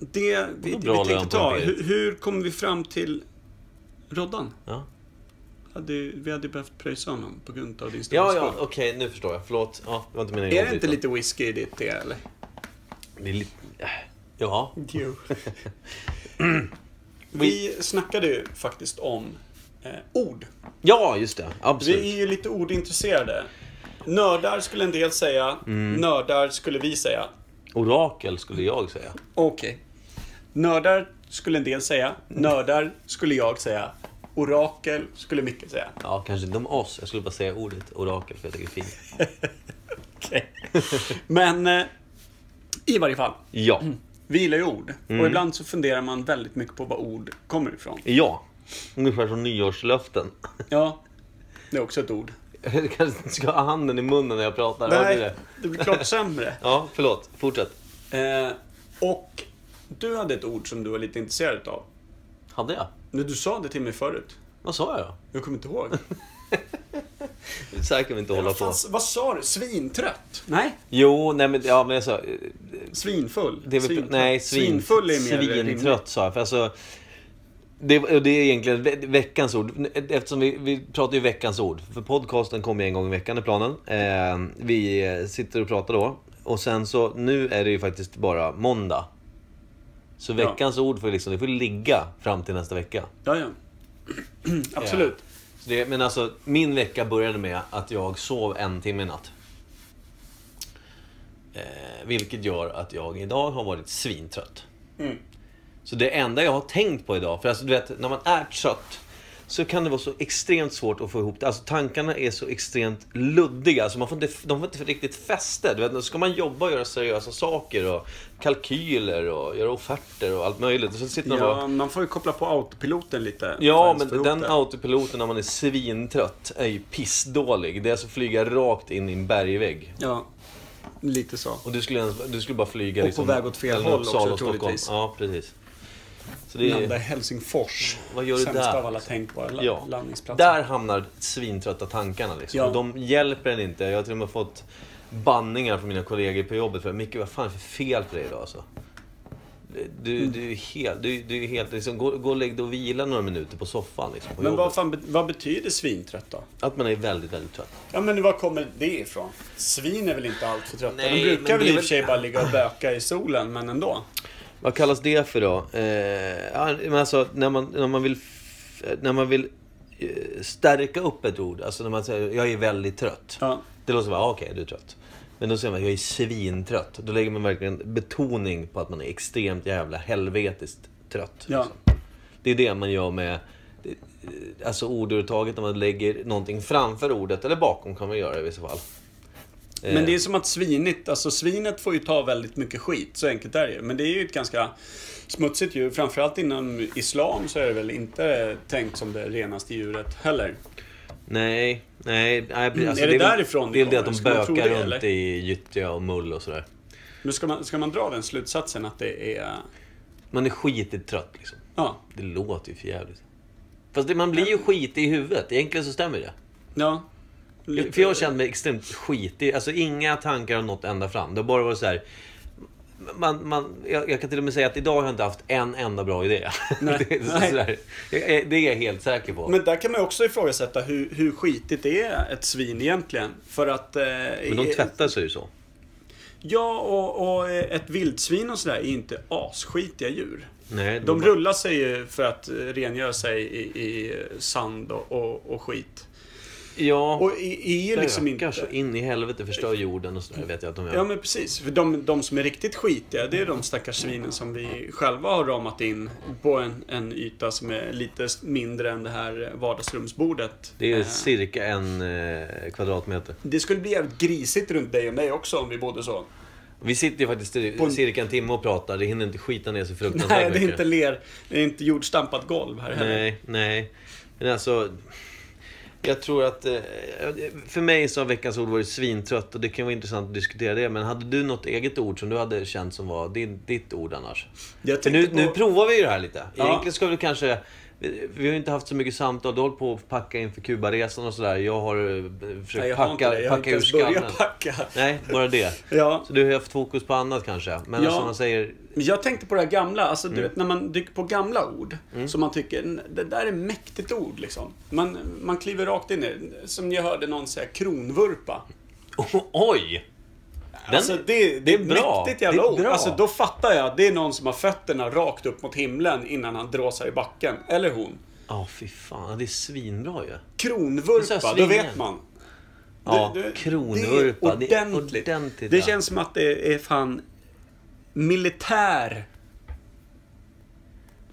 B: det vi,
C: Vad
B: vi
C: bra lön
B: tänkte
C: på
B: ta,
C: Imperiet.
B: hur, hur kom vi fram till Roddan?
C: Ja.
B: Hade, ju- vi hade ju behövt pröjsa honom på grund av din stora
C: Ja,
B: skuld.
C: ja, okej, nu förstår jag. Förlåt. Ja, det var inte meningen.
B: Är det inte lite whisky i ditt te eller?
C: Det är lite... äh, Ja.
B: Jo. vi snackade ju faktiskt om eh, ord.
C: Ja, just det.
B: Vi
C: Absolut.
B: är ju lite ordintresserade. Nördar skulle en del säga, nördar skulle vi säga.
C: Orakel skulle jag säga.
B: Okej. Nördar skulle en del säga, nördar skulle jag säga, orakel skulle Micke säga.
C: Ja, kanske inte om oss. Jag skulle bara säga ordet orakel för jag tycker det är fint.
B: Okej. Men eh, i varje fall,
C: Ja.
B: vi gillar ju ord.
C: Mm.
B: Och ibland så funderar man väldigt mycket på var ord kommer ifrån.
C: Ja. Ungefär som nyårslöften.
B: Ja, det är också ett ord.
C: Jag kanske inte ska ha handen i munnen när jag pratar. Hörde du
B: Nej,
C: det?
B: det blir klart sämre.
C: Ja, förlåt. Fortsätt.
B: Eh, och du hade ett ord som du var lite intresserad av.
C: Hade jag?
B: Men Du sa det till mig förut.
C: Vad sa jag då?
B: Jag kommer inte ihåg.
C: Så här kan vi inte hålla
B: Vad,
C: på.
B: fan, vad sa du? Svintrött? Nej,
C: Jo, nej men, ja, men jag sa... eh,
B: svinfull.
C: Det är väl,
B: Svintrött.
C: nej, svin,
B: svinfull är mer rimligt.
C: Svintrött sa jag. För alltså, det, och det är egentligen ve- veckans ord. Eftersom vi, vi pratar ju veckans ord. För podcasten kommer ju en gång i veckan i planen. Eh, vi eh, sitter och pratar då. Och sen så, nu är det ju faktiskt bara måndag. Så
B: Ja.
C: veckans ord får, liksom, det får ligga fram till nästa vecka.
B: Ja, ja. Absolut.
C: Så det, men alltså, min vecka började med att jag sov en timme i natt. Eh, vilket gör att jag idag har varit svintrött.
B: Mm.
C: Så det enda jag har tänkt på idag, för alltså, du vet, när man är trött så kan det vara så extremt svårt att få ihop det. Alltså tankarna är så extremt luddiga. Alltså, man får inte, de får inte riktigt fäste. Du vet, då ska man jobba och göra seriösa saker och kalkyler och göra offerter och allt möjligt. Och så sitter man bara...
B: Ja, man får ju koppla på autopiloten lite. för
C: Ja,
B: att få
C: men
B: ihop
C: den
B: det.
C: autopiloten när man är svintrött är ju pissdålig. Det är alltså att flyga rakt in i en bergvägg.
B: Ja, lite så.
C: Och du skulle, ens- du skulle bara flyga
B: Och på
C: liksom,
B: väg åt fel
C: mellan
B: håll
C: Uppsala
B: också,
C: och Stockholm.
B: troligtvis.
C: Ja, precis. Så det
B: Landa i
C: är,
B: Helsingfors.
C: Vad gör du
B: Sämsta
C: där?
B: av alla tänkbara la-
C: ja.
B: landningsplatser.
C: Där hamnar svintrötta tankarna liksom.
B: Ja.
C: Och de hjälper en inte. Jag har till och med fått banningar från mina kollegor på jobbet. För, Micke, vad fan är det för fel på dig idag alltså? Du, du är helt... Du, du är helt liksom, gå, gå och lägg dig och vila några minuter på soffan liksom, på
B: Men
C: jobbet.
B: vad, fan, bet- vad betyder svintrött då?
C: Att man är väldigt, väldigt trött.
B: Ja men var kommer det ifrån? Svin är väl inte allt för trötta?
C: Nej,
B: De
C: men det
B: brukar
C: är
B: väl i och
C: väl-
B: för sig bara ligga och böka i solen, men ändå.
C: Vad kallas det för då? Eh, ja, men alltså, när man, när man vill, f- när man vill eh, stärka upp ett ord. Alltså när man säger jag är väldigt trött.
B: Ja.
C: Det låter som bara, ah, okej, du är trött. Men då säger man, jag är svintrött. Då lägger man verkligen betoning på att man är extremt jävla helvetiskt trött.
B: Ja.
C: liksom. Det är det man gör med eh, alltså ordurtaget, när man lägger någonting framför ordet, eller bakom kan man göra i vissa fall. Eh.
B: Men det är som att svinigt, alltså svinet får ju ta väldigt mycket skit, så enkelt är det ju. Men det är ju ett ganska smutsigt djur. Framförallt inom Islam så är det väl inte tänkt som det renaste djuret heller.
C: Nej, nej. nej alltså,
B: Mm, är det
C: väl-
B: därifrån
C: Det är
B: det
C: väl det att de
B: kommer? Ska man tro
C: bökar
B: det,
C: runt
B: eller?
C: i gyttja och mull och sådär.
B: Nu ska man, ska man dra den slutsatsen att det är...
C: Man är skitigt trött liksom.
B: Ja.
C: Det låter ju för jävligt. Fast det, man blir ju skitig i huvudet. Egentligen så stämmer det.
B: Ja. Lite-
C: För jag kände mig extremt skitig. Alltså inga tankar har nått ända fram. Det har bara varit så här. Man, man, jag, jag kan till och med säga att idag har jag inte haft en enda bra idé.
B: Nej.
C: det, är så,
B: Nej.
C: sådär. Jag är- det är jag helt säker på. Men,
B: Men där kan man ju också ifrågasätta hur, hur skitigt det är ett svin egentligen. För att... Eh,
C: de tvättar sig ju så.
B: Ja, och, och eh, ett vildsvin och sådär är inte asskitiga djur.
C: Nej,
B: De
C: bara-
B: rullar sig ju för att eh, rengöra sig i, i eh, sand och, och, och skit.
C: Ja,
B: Och i- är ju liksom
C: bökar
B: inte...
C: så in i helvete, förstör jorden och sådär vet jag att de gör.
B: Ja men precis. För de, de som är riktigt skitiga, det är de stackars svinen som vi själva har ramat in på en, en yta som är lite mindre än det här vardagsrumsbordet.
C: Det är
B: Eh,
C: cirka en eh, kvadratmeter.
B: det skulle bli jävligt grisigt runt dig och mig också om vi bodde så.
C: Vi sitter ju faktiskt i
B: På en-
C: cirka en timme och pratar. Det hinner inte skita ner sig fruktansvärt
B: Nej, det är
C: mycket.
B: inte ler, det är inte jordstampat golv här heller.
C: Nej, nej. Men alltså... Jag tror att... eh, För mig så har veckans ord varit svintrött och det kan vara intressant att diskutera det. Men hade du något eget ord som du hade känt som var din, ditt ord annars?
B: Jag
C: För nu,
B: tänkte
C: nu
B: på-
C: provar vi ju det här lite.
B: Ja.
C: Egentligen ska du kanske... Vi vi har ju inte haft så mycket samtal. Du har hållit på att packa inför Kubaresan och sådär. Jag har eh, försökt
B: Nej, jag har inte
C: packa,
B: det. Jag har
C: packa
B: inte
C: ur
B: ens
C: skallen.
B: börjat packa.
C: Nej, bara det.
B: Ja,
C: Så du har haft fokus på annat kanske. Men
B: Ja.
C: alltså man säger...
B: men jag tänkte på det här gamla, alltså
C: Mm.
B: du vet när man dyker på gamla ord som man tycker, "N- det där är mäktigt ord liksom. Man, man kliver rakt in i det. Som jag hörde någon säga, kronvurpa.
C: oj! Den,
B: alltså det, det är ett
C: bra.
B: mäktigt jävla
C: Det är
B: ord.
C: bra.
B: Alltså då fattar jag att det är någon som har fötterna rakt upp mot himlen innan han dråsar i backen. Eller hon.
C: Ja, fy fan. Ja, Det är svinbra ju.
B: Kronvurpa,
C: Det är så här
B: då
C: svingen.
B: vet man.
C: Ja,
B: Du- du-
C: kronvurpa.
B: Det är ordentligt. Det,
C: Det ja.
B: känns som att det är fan militär.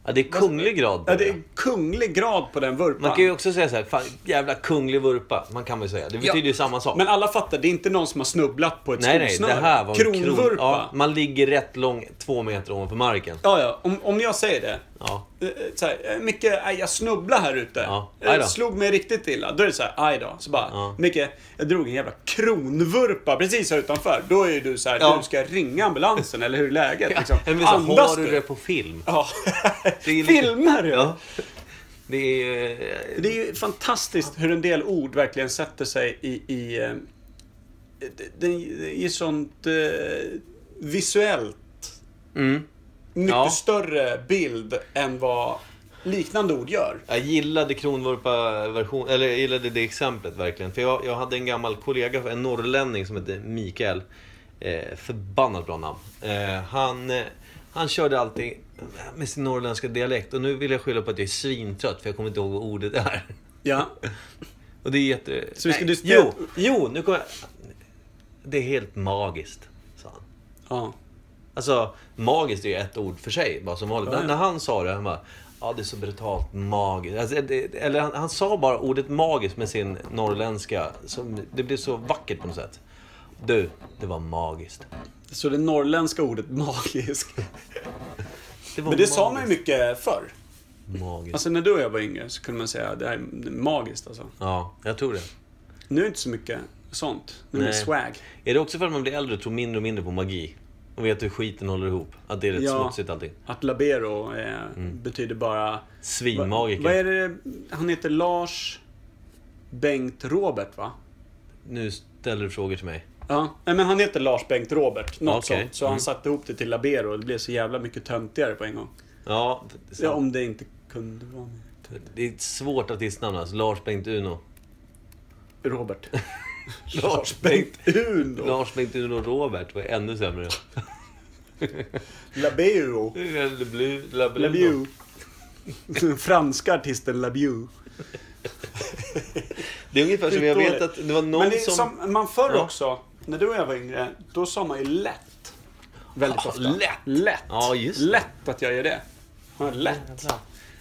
C: ja, det är Alltså, kunglig grad på
B: Ja, det är kunglig grad på den vurpan.
C: Man kan ju också säga så här, fan, jävla kunglig vurpa. Man kan väl säga. Det betyder ju samma sak.
B: Men alla fattar, det är inte någon som har snubblat på ett
C: nej, nej,
B: skosnöre.
C: det här var en
B: Kronvurpa.
C: Kron, ja, man ligger rätt lång, två meter ovanför marken.
B: Ja, ja. Om, om jag säger det.
C: Ja.
B: Eh, eh, Så här, eh, Micke, aj, jag snubblade här ute.
C: Ja,
B: Eh,
C: aj då.
B: Slog mig riktigt illa. Då är det så här, aj då. Så bara,
C: Ja.
B: Micke, jag drog en jävla kronvurpa precis här utanför. Då är ju du så här,
C: Ja.
B: du ska ringa ambulansen, eller hur är läget? Liksom.
C: Men så,
B: Andas
C: har du
B: du?
C: det på film?
B: Ja.
C: Det är lite-
B: Filmar du?
C: Ja. Det är eh,
B: Det är ju fantastiskt hur en del ord verkligen sätter sig i... i eh, det- det är ju sånt eh, visuellt
C: mm.
B: mycket
C: Ja.
B: större bild än vad liknande ord gör.
C: Jag gillade kronvurpa-version, eller jag gillade det exemplet verkligen. För jag, jag hade en gammal kollega, en norrlänning som hette Mikael. Eh, förbannat bra namn. Eh, han, eh, han körde alltid med sin norrländska dialekt. Och nu vill jag skylla på att jag är svintrött för jag kommer inte ihåg vad ordet är.
B: Ja.
C: Och det är jätte...
B: Så vi ska
C: Nej,
B: diskutera-
C: jo, jo, nu kommer jag... Det är helt magiskt, sa han.
B: ja.
C: Alltså, magiskt är ju ett ord för sig, bara som vanligt.
B: Ja, ja.
C: När han sa det, han bara... Ja, det är så brutalt magiskt. Alltså, det, eller han, han sa bara ordet magiskt med sin norrländska. Som, det blev så vackert på något sätt. Du, det var magiskt.
B: Så det norrländska ordet magisk.
C: var
B: Men det sa
C: magiskt.
B: man ju mycket förr.
C: Magiskt.
B: Alltså när du och jag var yngre så kunde man säga det här är magiskt alltså.
C: Ja, jag tror det.
B: Nu är det inte så mycket sånt. Nu är det
C: Nej.
B: swag.
C: Är det också för att man blir äldre och tror mindre och mindre på magi? Och vet hur skiten håller ihop? Att det är rätt
B: Ja.
C: smutsigt allting.
B: Att labero eh,
C: Mm.
B: betyder bara...
C: Svinmagiker.
B: Vad är det? Han heter Lars Bengt Robert va?
C: Nu ställer du frågor till mig.
B: Ja, Nej, men han heter Lars Bengt Robert. Något
C: Okej. Mm.
B: sånt. Så han satte ihop det till labero och det blev så jävla mycket töntigare på en gång.
C: Ja, det är sant.
B: Ja, om det inte kunde vara med.
C: det är ett svårt artistnamn alltså. Lars Bengt Uno.
B: Robert.
C: Lars Bengt
B: Uno.
C: Lars Bengt Uno Robert var ännu sämre.
B: Labero.
C: Eller Blu- Labello.
B: Labiu. Den franska artisten Labiu.
C: Det är ungefär som Alltså, jag
B: Skitdåligt.
C: vet att det var någon
B: Men det är
C: som...
B: som man förr
C: Ja.
B: också, när du och jag var yngre, då sa man ju lätt. Väldigt
C: Ah,
B: ofta.
C: lätt.
B: Lätt.
C: Ja, just det.
B: lätt att jag gör det. Ja, lätt.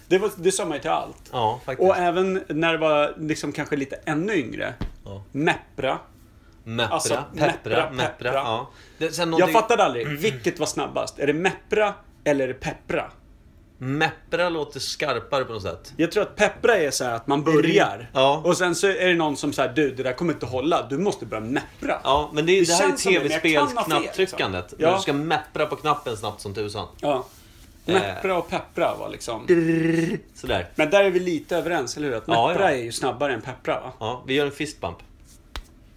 B: Det, var, det sa man ju till allt.
C: Ja, faktiskt.
B: Och eh, även när det var liksom kanske lite ännu yngre.
C: Ja.
B: Meppra.
C: Meppra,
B: alltså,
C: peppra,
B: Meppra,
C: meppra.
B: Peppra.
C: Ja. Det, sen
B: Jag
C: någonting...
B: fattade aldrig, vilket var snabbast? Är det meppra eller är det peppra?
C: Meppra låter skarpare på något sätt.
B: Jag tror att peppra är så här att man börjar.
C: Ja.
B: Och sen så är det någon som säger du det där kommer inte hålla, du måste börja meppra.
C: Ja, men det, är-
B: Det
C: det här är
B: känns som det, men jag kan ha fel,
C: tv-spelsknapptryckandet.
B: liksom. Ja.
C: Du ska Eh. meppra på knappen snabbt som tusan.
B: Ja. Meppra och peppra var liksom...
C: Sådär.
B: Men där är vi lite överens, eller hur? Att
C: Ja,
B: meppra
C: ja.
B: är ju snabbare än peppra, va?
C: Ja, vi gör en fistbump.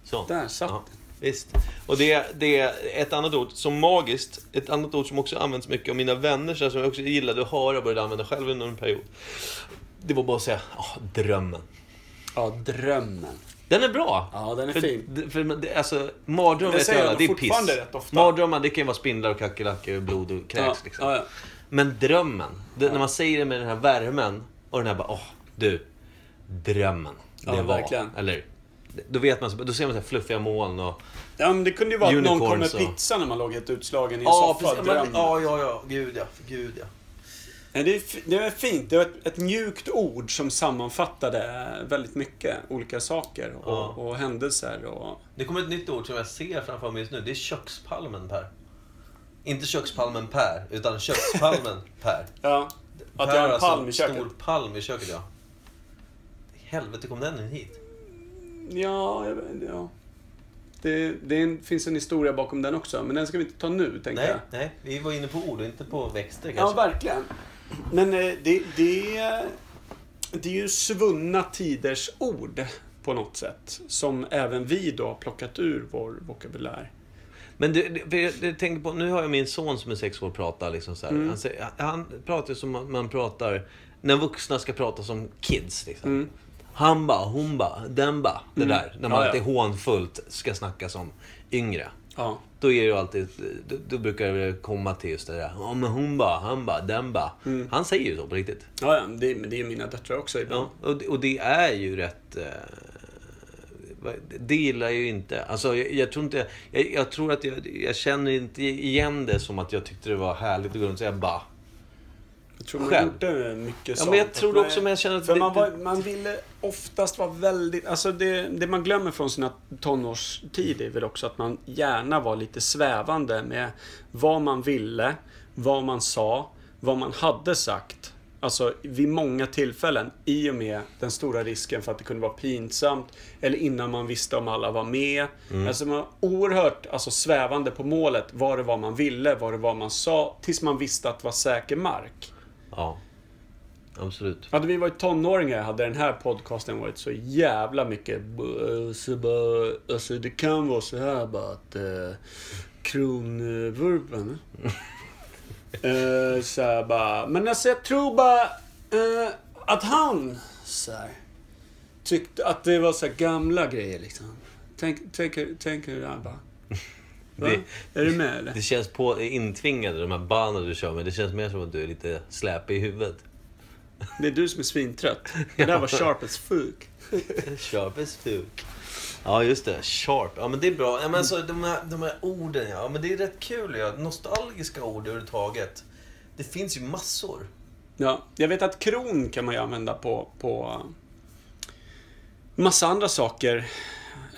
C: Så.
B: Där satt
C: Ja,
B: den.
C: visst. Och det, det är ett annat ord som magiskt, ett annat ord som också används mycket av mina vänner, så här, som jag också gillade att höra och började använda själv under en period. Det var bara att säga "Ah, drömmen.
B: Ja, drömmen.
C: Den är bra!
B: Ja, den är
C: för,
B: fin.
C: d- För, men det, alltså, mardrömmar
B: Det
C: vet
B: säger
C: alla,
B: de
C: det är
B: fortfarande
C: piss.
B: rätt ofta.
C: Mardrömmar, det kan ju vara spindlar och kackerlackor och blod och kräks
B: Ja,
C: liksom.
B: ja, ja.
C: Men drömmen, det, när man säger det med den här värmen och den här bara, åh, du, drömmen. Det var,
B: Ja, verkligen.
C: eller Då vet man, så- då ser man så här fluffiga moln och...
B: Ja, men det kunde ju vara att någon
C: Unicorns
B: kom med
C: och-
B: pizza när man låg helt utslagen i en
C: Ja,
B: soffa.
C: precis.
B: Drömmen.
C: Men, ja, ja, ja. Gud ja. Gud ja.
B: Nej, det, är, fi- det är fint. Det var ett, ett mjukt ord som sammanfattade väldigt mycket olika saker och,
C: Ja.
B: och händelser. Och...
C: Det kommer ett nytt ord som jag ser framför mig just nu. Det är kökspalmen Per. Inte kökspalmen Per, utan kökspalmen Per.
B: Ja,
C: Per
B: att jag
C: har
B: har en
C: alltså
B: palm i köket.
C: stor palm i köket, ja. Helvete kom den in hit?
B: Ja, jag vet- ja. Det, det är en, finns en historia bakom den också, men den ska vi inte ta nu, tänker
C: Nej,
B: jag.
C: nej. Vi var inne på ord och inte på växter
B: Ja,
C: kanske.
B: verkligen. Men eh, det, det, det är ju svunna tiders ord på något sätt. Som även vi då har plockat ur vår vokabulär.
C: Men du, du- för jag, jag tänker på, nu har jag min son som är sex år prata liksom så här.
B: Mm.
C: Han, säger, han pratar ju som man, man pratar, när vuxna ska prata som kids liksom. Han bara, hon bara, den bara. Det där, när man
B: Mm. Ja, ja.
C: alltid hånfullt ska snacka som yngre.
B: Ja.
C: Då är det ju alltid, då, då brukar det komma till just det där, ja men hon bara, han bara, den bara.
B: Mm.
C: Han säger ju så på riktigt.
B: Ja, ja, det, men det är mina döttrar också ibland.
C: Ja, och, det- och det är ju rätt... Eh, vad- det gillar jag ju inte. Alltså, jag, jag tror inte... Jag, jag tror att jag, jag känner inte igen det som att jag tyckte det var härligt och gå runt och säga ba.
B: Jag tror man
C: Själv.
B: gjorde mycket
C: Ja,
B: sånt.
C: men jag tror
B: Att man-
C: också, men jag känner att
B: För
C: det-
B: man,
C: det-
B: var, man ville oftast vara väldigt... Alltså det, det man glömmer från sina tonårstid är väl också att man gärna var lite svävande med vad man ville, vad man sa, vad man hade sagt. Alltså vid många tillfällen i och med den stora risken för att det kunde vara pinsamt eller innan man visste om alla var med.
C: Mm.
B: Alltså man var oerhört alltså, svävande på målet. Var det vad man ville? Var det vad man sa? Tills man visste att det var säker mark.
C: Ja. absolut.
B: Hade vi varit tonåringar hade den här podcasten varit så jävla mycket "Bö, så bö, Alltså det kan vara så här bara att eh, kronvurpen. eh, så här bara. Men alltså jag tror bara eh, att han så här, tyckte att det var så här gamla grejer liksom. Tänk, tänk, tänk hur det här bara. Va? är du med eller?
C: Det känns på, intvingade, de här banden du kör med. Det känns mer som att du är lite släpig i huvudet.
B: Det är du som är svintrött. Det där var sharp as fuck.
C: Sharp as fuck. Ja, just det. Sharp. Ja, men det är bra. Ja, men alltså, de, här, de här orden, ja. Men det är rätt kul. Ja. Nostalgiska ord överhuvudtaget. Det finns ju massor.
B: Ja, jag vet att kron kan man ju använda på, på massa andra saker.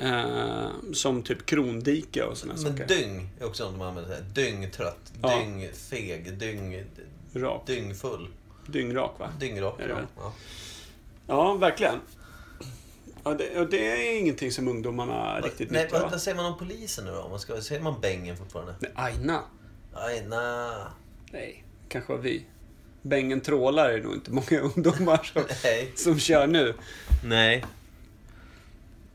B: Eh, som typ krondike och sådana
C: Men
B: saker.
C: dyng är också något man använder. så här. Dyngtrött,
B: Ja.
C: dyngfeg, dyng,
B: Rak.
C: dyngfull,
B: Dyngrak va?
C: dyngrak.
B: Är det
C: ja.
B: väl?
C: Ja.
B: Ja, verkligen. Ja, det, och det är ingenting som ungdomarna riktigt
C: Nej,
B: nyttjar
C: vad,
B: va?
C: vad säger man om polisen nu då? Om man ska, säger man bängen fortfarande?
B: Nej, Aina?
C: Aj, na.
B: Nej, kanske var vi. Bängen trålar är nog inte många ungdomar som,
C: Nej.
B: som kör nu.
C: Nej.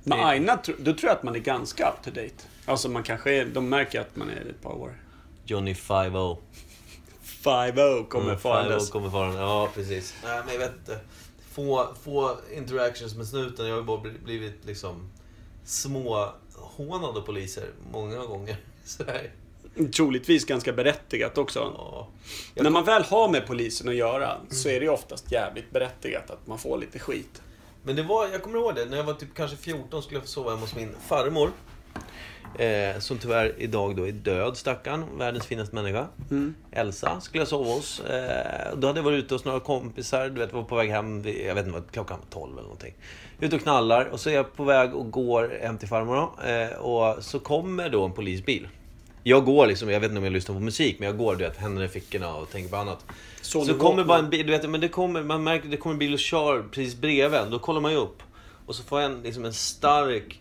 B: Men
C: Det-
B: Aina, tro- då tror jag att man är ganska up to date. Alltså man kanske är, de märker att man är ett par år.
C: Johnny 5-0.
B: 5-0 kommer
C: Mm,
B: farandes.
C: 5-0 kommer farandes. Ja, precis. Nej, men jag vet inte. Få, få interactions med snuten. Jag har ju bara bli- blivit liksom småhånad av poliser många gånger. Så här.
B: Troligtvis ganska berättigat också.
C: Ja.
B: När man väl har med polisen att göra så är det ju oftast jävligt berättigat att man får lite skit.
C: Men det var, jag kommer ihåg det, när jag var typ kanske 14 skulle jag få sova hemma hos min farmor. Eh, som tyvärr idag då är död, stackarn. Världens finaste människa. Elsa skulle jag sova hos. Eh, då hade jag varit ute hos några kompisar, du vet, var på väg hem, vid, jag vet inte, vad, klockan var 12 eller någonting. Ute och knallar och så är jag på väg och går hem till farmor då. Eh, och så kommer då en polisbil. Jag går liksom, jag vet inte om jag lyssnar på musik, men jag går du vet, händerna i fickorna och tänker på annat.
B: Så
C: Så,
B: du
C: kommer
B: vaknar.
C: bara en bil, du vet, men det kommer, man märker att det kommer en bil och kör precis bredvid en. Då kollar man ju upp. Och så får jag en, liksom en stark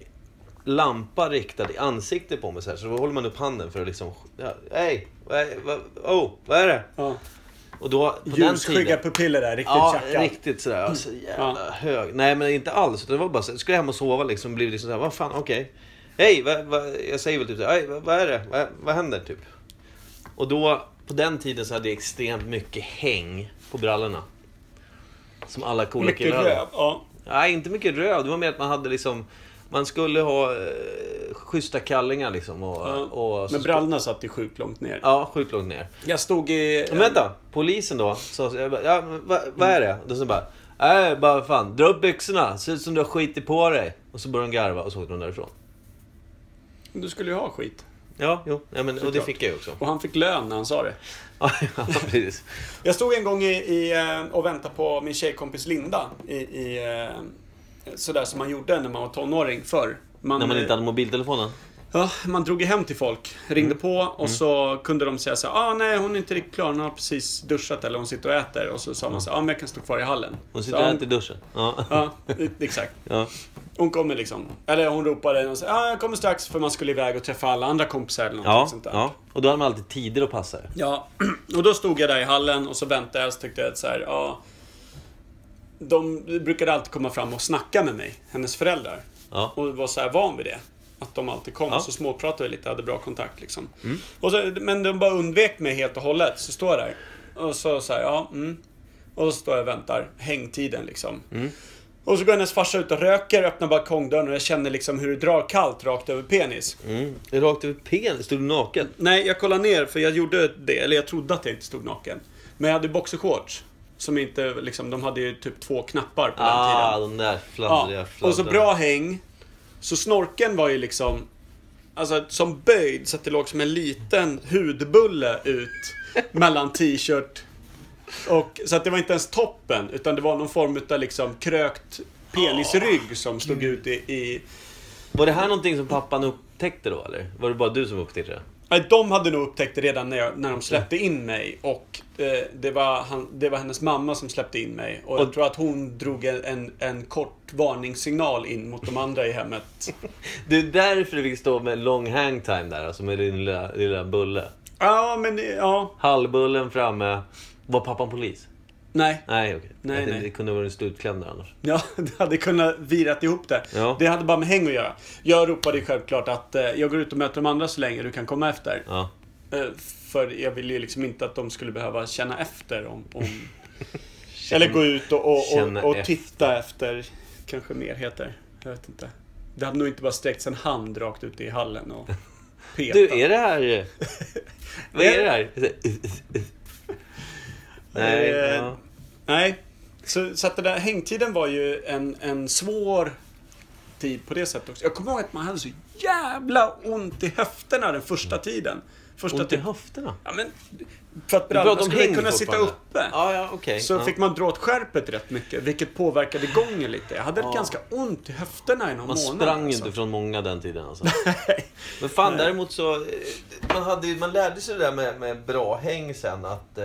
C: lampa riktad i ansiktet på mig så här. Så då håller man upp handen för att liksom... Ja, Hej! Vad är, vad, oh, vad är det?
B: Ja.
C: Och då, på den
B: Ljusskygga
C: tiden...
B: pupiller där, riktigt
C: Ja,
B: tjackat.
C: riktigt sådär. ja, Så jävla
B: Ja.
C: hög. Nej, men inte alls. utan Det var bara så, skulle jag hem och sova liksom. Blev liksom såhär, vad fan, okej. Hej, vad, vad, jag säger väl typ såhär, "Hej, vad, vad är det? Vad, vad händer? Typ. Och då, på den tiden så hade jag extremt mycket häng på brallorna. Som alla coola
B: Mycket
C: killar hade.
B: röv. Ja.
C: Nej, inte mycket röd. Det var mer att man hade liksom... Man skulle ha eh, schyssta kallingar liksom. Och, och,
B: Men brallorna satt ju sjukt långt ner.
C: Ja, sjukt långt ner.
B: Jag stod i...
C: Men vänta, polisen då. Så, så jag bara, ja, men vad, vad är det? Då så bara, nej bara fan, dra upp byxorna. Ser ut som du har skitit på dig. Och så började de garva och så åkte de därifrån.
B: Du skulle ju ha skit.
C: Ja, jo, ja, men, och det
B: Såklart.
C: fick jag ju också.
B: Och han fick lön när han sa det.
C: Ja, ja, precis.
B: Jag stod en gång i, i, eh, och väntade på min tjejkompis Linda. I, i, eh, sådär som man gjorde när man var tonåring förr.
C: När man
B: eh,
C: inte hade mobiltelefonen.
B: Ja, man drog ju hem till folk,
C: Mm.
B: ringde på och så kunde de säga så här, ah nej hon är inte riktigt klar, hon har precis duschat eller hon sitter och äter. Och så sa man så här, ah men jag kan stå kvar i hallen.
C: Hon
B: Så,
C: sitter
B: "Ja,
C: och äter i duschen. Ja.
B: Ja, e- exakt.
C: Ja.
B: Hon kommer liksom, eller hon ropade och sa, ah jag kommer strax för man skulle iväg och träffa alla andra kompisar eller något
C: Ja,
B: sånt där.
C: ja. Och då hade man alltid tider att passa.
B: Ja, och då stod jag där i hallen och så väntade jag och så tyckte jag att så här, ja... De brukade alltid komma fram och snacka med mig, hennes föräldrar.
C: Ja.
B: Och var så här van vid det. Att de alltid kom,
C: Ja. Mm.
B: så småpratade vi lite, hade bra kontakt liksom. Och så, men de bara undvek mig helt och hållet, så står jag där. Och så säger ja, mm. Och så står jag och väntar, hängtiden liksom.
C: Mm.
B: Och så går hennes farsa ut och röker, öppnar balkongdörren och jag känner liksom hur det drar kallt rakt över penis.
C: Mm. Rakt över penis. Stod du naken?
B: Nej, jag kollade ner för jag gjorde det, eller jag trodde att jag inte stod naken. Men jag hade boxershorts. Som inte, liksom, de hade ju typ två knappar på den
C: Ah,
B: tiden.
C: de där fladdriga
B: Ja. Och så
C: fladdriga.
B: bra häng. Så snorken var ju liksom, alltså som böjd så att det låg som en liten hudbulle ut mellan t-shirt och, så att det var inte ens toppen, utan det var någon form av liksom krökt penisrygg som stod ut i, i
C: Var det här någonting som pappan upptäckte då, eller? Var det bara du som upptäckte det?
B: Nej, de hade nog upptäckt det redan när, jag, när de släppte in mig och eh, det, var han, det var hennes mamma som släppte in mig. Och jag
C: Och-
B: tror att hon drog en, en, en kort varningssignal in mot de andra i hemmet.
C: Det är därför du fick stå med lång hangtime där, alltså med din lilla, lilla bulle.
B: Ja, men det- ja.
C: Hallbullen framme. Var pappan polis?
B: Nej,
C: Nej, okej. Jag
B: Nej,
C: tänkte
B: nej.
C: Det kunde vara en slutklämdare annars.
B: ja, det hade kunnat virat ihop det.
C: Ja.
B: Det hade bara med häng att göra. Jag ropade ju självklart att eh, jag går ut och möter de andra så länge du kan komma efter.
C: Ja.
B: Eh, För jag ville ju liksom inte att de skulle behöva känna efter om... om eller gå ut och, och,
C: känna
B: och, och
C: efter.
B: titta efter. Kanske mer heter. Jag vet inte. Det hade nog inte bara sträckts en hand rakt ute i hallen och petat.
C: Du, är det här... eh, Vad är det här? Nej,
B: Eh,
C: ja.
B: Nej. Så, så att det där hängtiden var ju en, en svår tid på det sättet också. Jag kommer ihåg att man hade så jävla ont i höfterna den första tiden. Första
C: Mm. Ont i
B: typ-
C: höfterna?
B: Ja, men... För
C: Du pratar
B: att brallorna
C: om
B: skulle
C: häng
B: kunna sitta
C: fortfarande.
B: uppe.
C: Ja, ja, okej.
B: Så
C: ja.
B: fick man dra åt skärpet rätt mycket, vilket påverkade gången lite. Jag hade
C: Ja.
B: ett ganska ont i höfterna i någon
C: Man
B: månad.
C: sprang ju
B: alltså.
C: inte från många den tiden alltså. Men fan däremot så, eh, man, hade, ju- man lärde sig det där med, med bra häng sen att eh,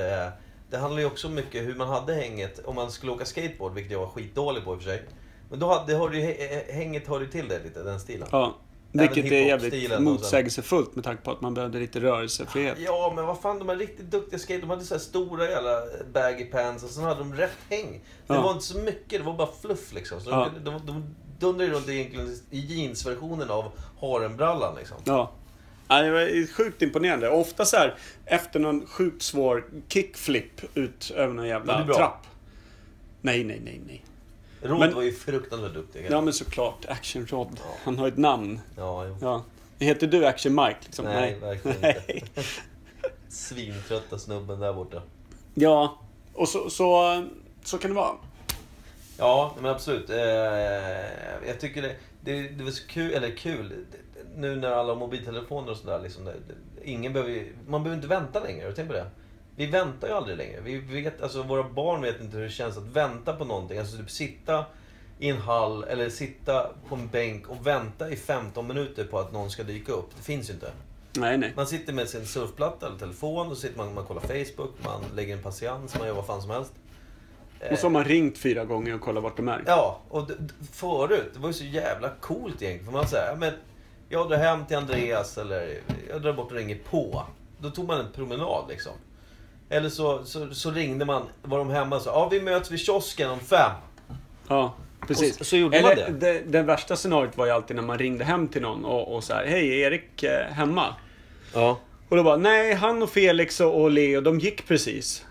C: det handlar ju också mycket hur man hade hänget om man skulle åka skateboard, vilket jag var skitdålig på i och för sig. Men då hade, har du, eh, hänget hör ju till det lite, den stilen. Ja.
B: Ja, vilket är
C: hiphop-stilen
B: jävligt
C: och så.
B: motsägelsefullt med tanke på att man behövde lite rörelsefrihet.
C: men vad fan, de här riktigt duktiga skate, de hade så här stora jävla baggy pants och sen hade de rätt häng. Det
B: Ja.
C: var inte så mycket, det var bara fluff liksom. Så de,
B: Ja.
C: kunde- de, de dundrade runt egentligen i jeansversionen av harenbrallan liksom.
B: Ja. ja. Det var sjukt imponerande. Och ofta så här, efter någon sjukt svår kickflip ut över någon
C: Var
B: jävla
C: du bra?
B: trapp. Nej, nej, nej, nej.
C: Rod
B: Men-
C: var ju fruktansvärt duktig.
B: Ja, men såklart. Action Rod. Han har ett namn.
C: Ja, jo.
B: Ja. Heter du Action Mike? Liksom?
C: Nej, verkligen inte.
B: nej.
C: Svintrötta snubben där borta.
B: Ja, och så, så, så kan det vara.
C: Ja, men absolut. Eh, jag tycker det, det, det var så kul, eller kul, det- nu när alla har mobiltelefoner och sådär. Liksom, det, det- ingen behöver, ju- man behöver inte vänta längre, har du tänkt på det? Vi väntar ju aldrig längre. Vi vet, alltså, våra barn vet inte hur det känns att vänta på någonting. Alltså typ sitta i en hall eller sitta på en bänk och vänta i 15 minuter på att någon ska dyka upp. Det finns ju inte.
B: Nej, nej.
C: Man sitter med sin surfplatta eller telefon och sitter man, man kollar Facebook, man lägger en patiens, man gör vad fan som helst.
B: Och så har man ringt fyra gånger och kollat vart de är.
C: eh, Ja, och d- d- förut, det var ju så jävla coolt egentligen. För man säger, ja, men jag drar hem till Andreas eller jag drar bort och ringer på. Då tog man en promenad liksom. Eller så, så, så ringde man, var de hemma och sa, ja vi möts vid kiosken om fem.
B: Ja, precis.
C: Och så- så gjorde man det.
B: det. Det värsta scenariot var ju alltid när man ringde hem till någon och, och så här, hej, är Erik eh, hemma?
C: Ja.
B: Och då bara, nej, han och Felix och, och Leo, de gick precis.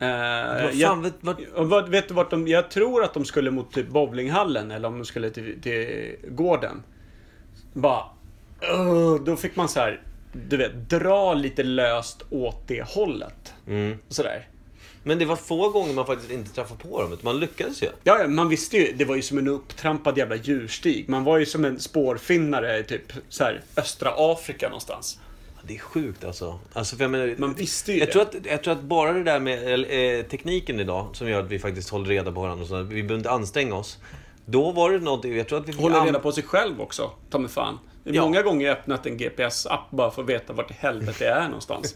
B: Eh,
C: Vad fan,
B: jag,
C: vet, vart,
B: och vad- vet du vart de, jag tror att de skulle mot typ bowlinghallen eller om de skulle till, till gården. Bara, "Ugh", då fick man så här, du vet, dra lite löst åt det hållet. Och sådär.
C: Men det var få gånger man faktiskt inte träffade på dem, utan man lyckades ju.
B: Ja, ja, man visste ju. Det var ju som en upptrampad jävla djurstig. Man var ju som en spårfinnare i typ så här, östra Afrika någonstans.
C: Det är sjukt alltså. alltså för jag menar,
B: Man visste ju
C: jag
B: det.
C: tror, att, jag tror att bara det där med eh, tekniken idag, som gör att vi faktiskt håller reda på varandra, och så, vi behöver inte anstränga oss. Då var det någonting, jag tror att vi fick
B: Hålla
C: an-
B: reda på sig själv också, ta mig fan. Det är
C: Ja.
B: Många gånger har jag öppnat en GPS-app bara för att veta vart i helvete jag är någonstans.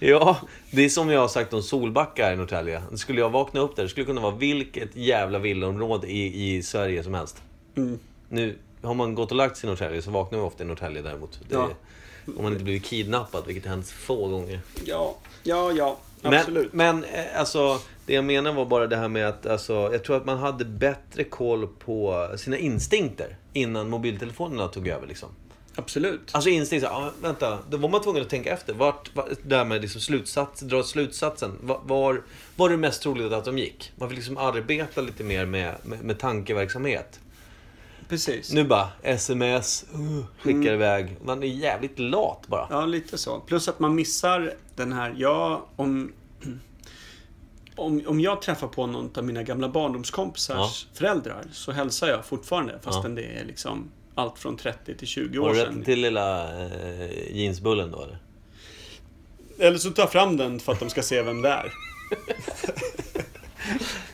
C: Ja, det är som jag har sagt om Solbacka i Norrtälje. Skulle jag vakna upp där, det skulle kunna vara vilket jävla villaområde i, i Sverige som helst.
B: Mm.
C: Nu har man gått och lagt sig i Norrtälje, så vaknar man ofta i Norrtälje däremot. Det,
B: Ja.
C: Om man inte blivit kidnappad, vilket hänt få gånger.
B: Ja, ja, ja.
C: Men,
B: Absolut.
C: men eh, alltså, det jag menar var bara det här med att alltså, jag tror att man hade bättre koll på sina instinkter innan mobiltelefonerna tog över. Liksom.
B: Absolut.
C: Alltså instinkt, så här, ah, vänta, då var man tvungen att tänka efter. Vart, var, det här med liksom slutsats, dra slutsatsen. Var, var, var det mest troligt att de gick? Man fick liksom arbeta lite mer med, med, med tankeverksamhet.
B: Precis.
C: Nu bara, sms, uh, skickar iväg. Man är jävligt lat bara.
B: Ja, lite så. Plus att man missar den här, ja, om... Om, om jag träffar på någon av mina gamla barndomskompisars föräldrar så hälsar jag fortfarande fastän det är liksom allt från 30 till 20
C: Var
B: år
C: det rätt
B: sedan.
C: till lilla eh, jeansbullen då eller?
B: Eller så tar jag fram den för att de ska se vem det är.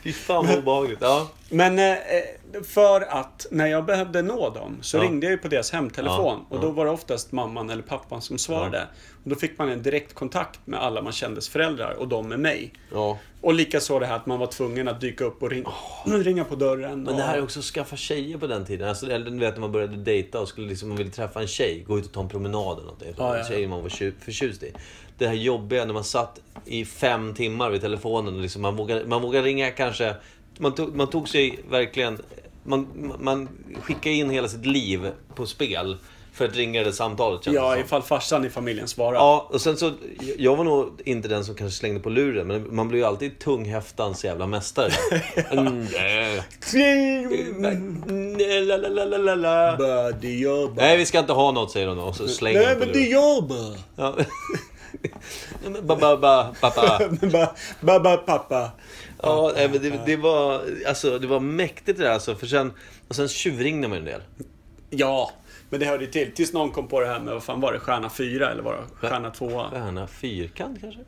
C: Fy fan vad obehagligt. Ja.
B: Men eh, eh, för att när jag behövde nå dem så
C: Ja.
B: ringde jag ju på deras hemtelefon
C: Ja,
B: och då var det oftast mamman eller pappan som svarade. Och då fick man en direktkontakt med alla man kändes föräldrar och de med mig.
C: ja.
B: Och likaså det här att man var tvungen att dyka upp och ring, ringa på dörren.
C: Men det
B: och-
C: här är också att skaffa tjejer på den tiden. Alltså, eller du vet när man började dejta och skulle liksom, man ville träffa en tjej, gå ut och ta en promenad eller någonting.
B: Ja, ja, ja.
C: En tjej man var tju- förtjust i. det här jobbiga när man satt i fem timmar vid telefonen. Och liksom man, vågade, man vågade ringa kanske... Man tog, man tog sig verkligen... Man, man skickade in hela sitt liv på spel för att ringa det samtalet. kändes det
B: Ja,
C: som.
B: ifall farsan i familjen svarar.
C: Ja, och sen så... Jag var nog inte den som kanske slängde på luren, men man blir ju alltid tunghäftans jävla mästare. Mm, nej. Nej, la, la, la, la, la, la.
B: Det jobbar.
C: Nej, vi ska inte ha något, säger de då. Och så slänger de på luren.
B: jobbar.
C: Ja. ba, ba, ba, ba, ba.
B: Babba pappa.
C: Ja, nej, men det, det, var, alltså, det var mäktigt det där alltså. För sen, och sen tjuvringde man ju en del.
B: Ja, men det hörde ju till. Tills någon kom på det här med, vad fan var det, stjärna 4 eller var det stjärna 2?
C: Stjärna fyrkant kanske?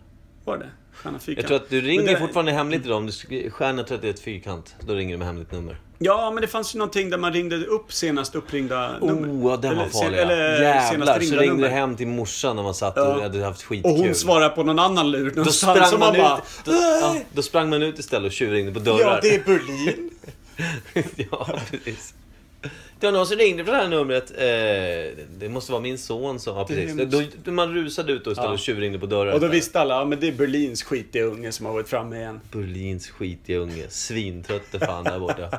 B: Var det? Stjärna 4?
C: Jag tror att du ringer fortfarande hemligt idag. Om du skriver stjärna 31 fyrkant, då ringer du med hemligt nummer.
B: Ja, men det fanns ju någonting där man ringde upp senast uppringda nummer.
C: Oh, ja, den var
B: Eller sen-
C: farlig.
B: eller
C: Jävlar,
B: senast
C: så
B: ringda
C: ringde
B: nummer.
C: du hem till morsan när man satt
B: Ja.
C: och hade haft skitkul.
B: Och hon svarar på någon annan lur
C: Då
B: någonstans.
C: sprang
B: så
C: man,
B: man
C: ut,
B: bara... "Äh,
C: då, ja, då sprang man ut istället och tjuvringde på dörrar.
B: Ja, det är Berlin.
C: ja, precis. Det var någon som ringde från det här numret. Eh, det- det måste vara min son som... Ja, precis.
B: Det är
C: Då, då- man rusade ut och istället och tjuvringde på dörrar.
B: Och då visste alla, ja men det är Berlins skitiga unge som har varit framme igen.
C: Berlins skitiga unge. Svintrötte fan där borta.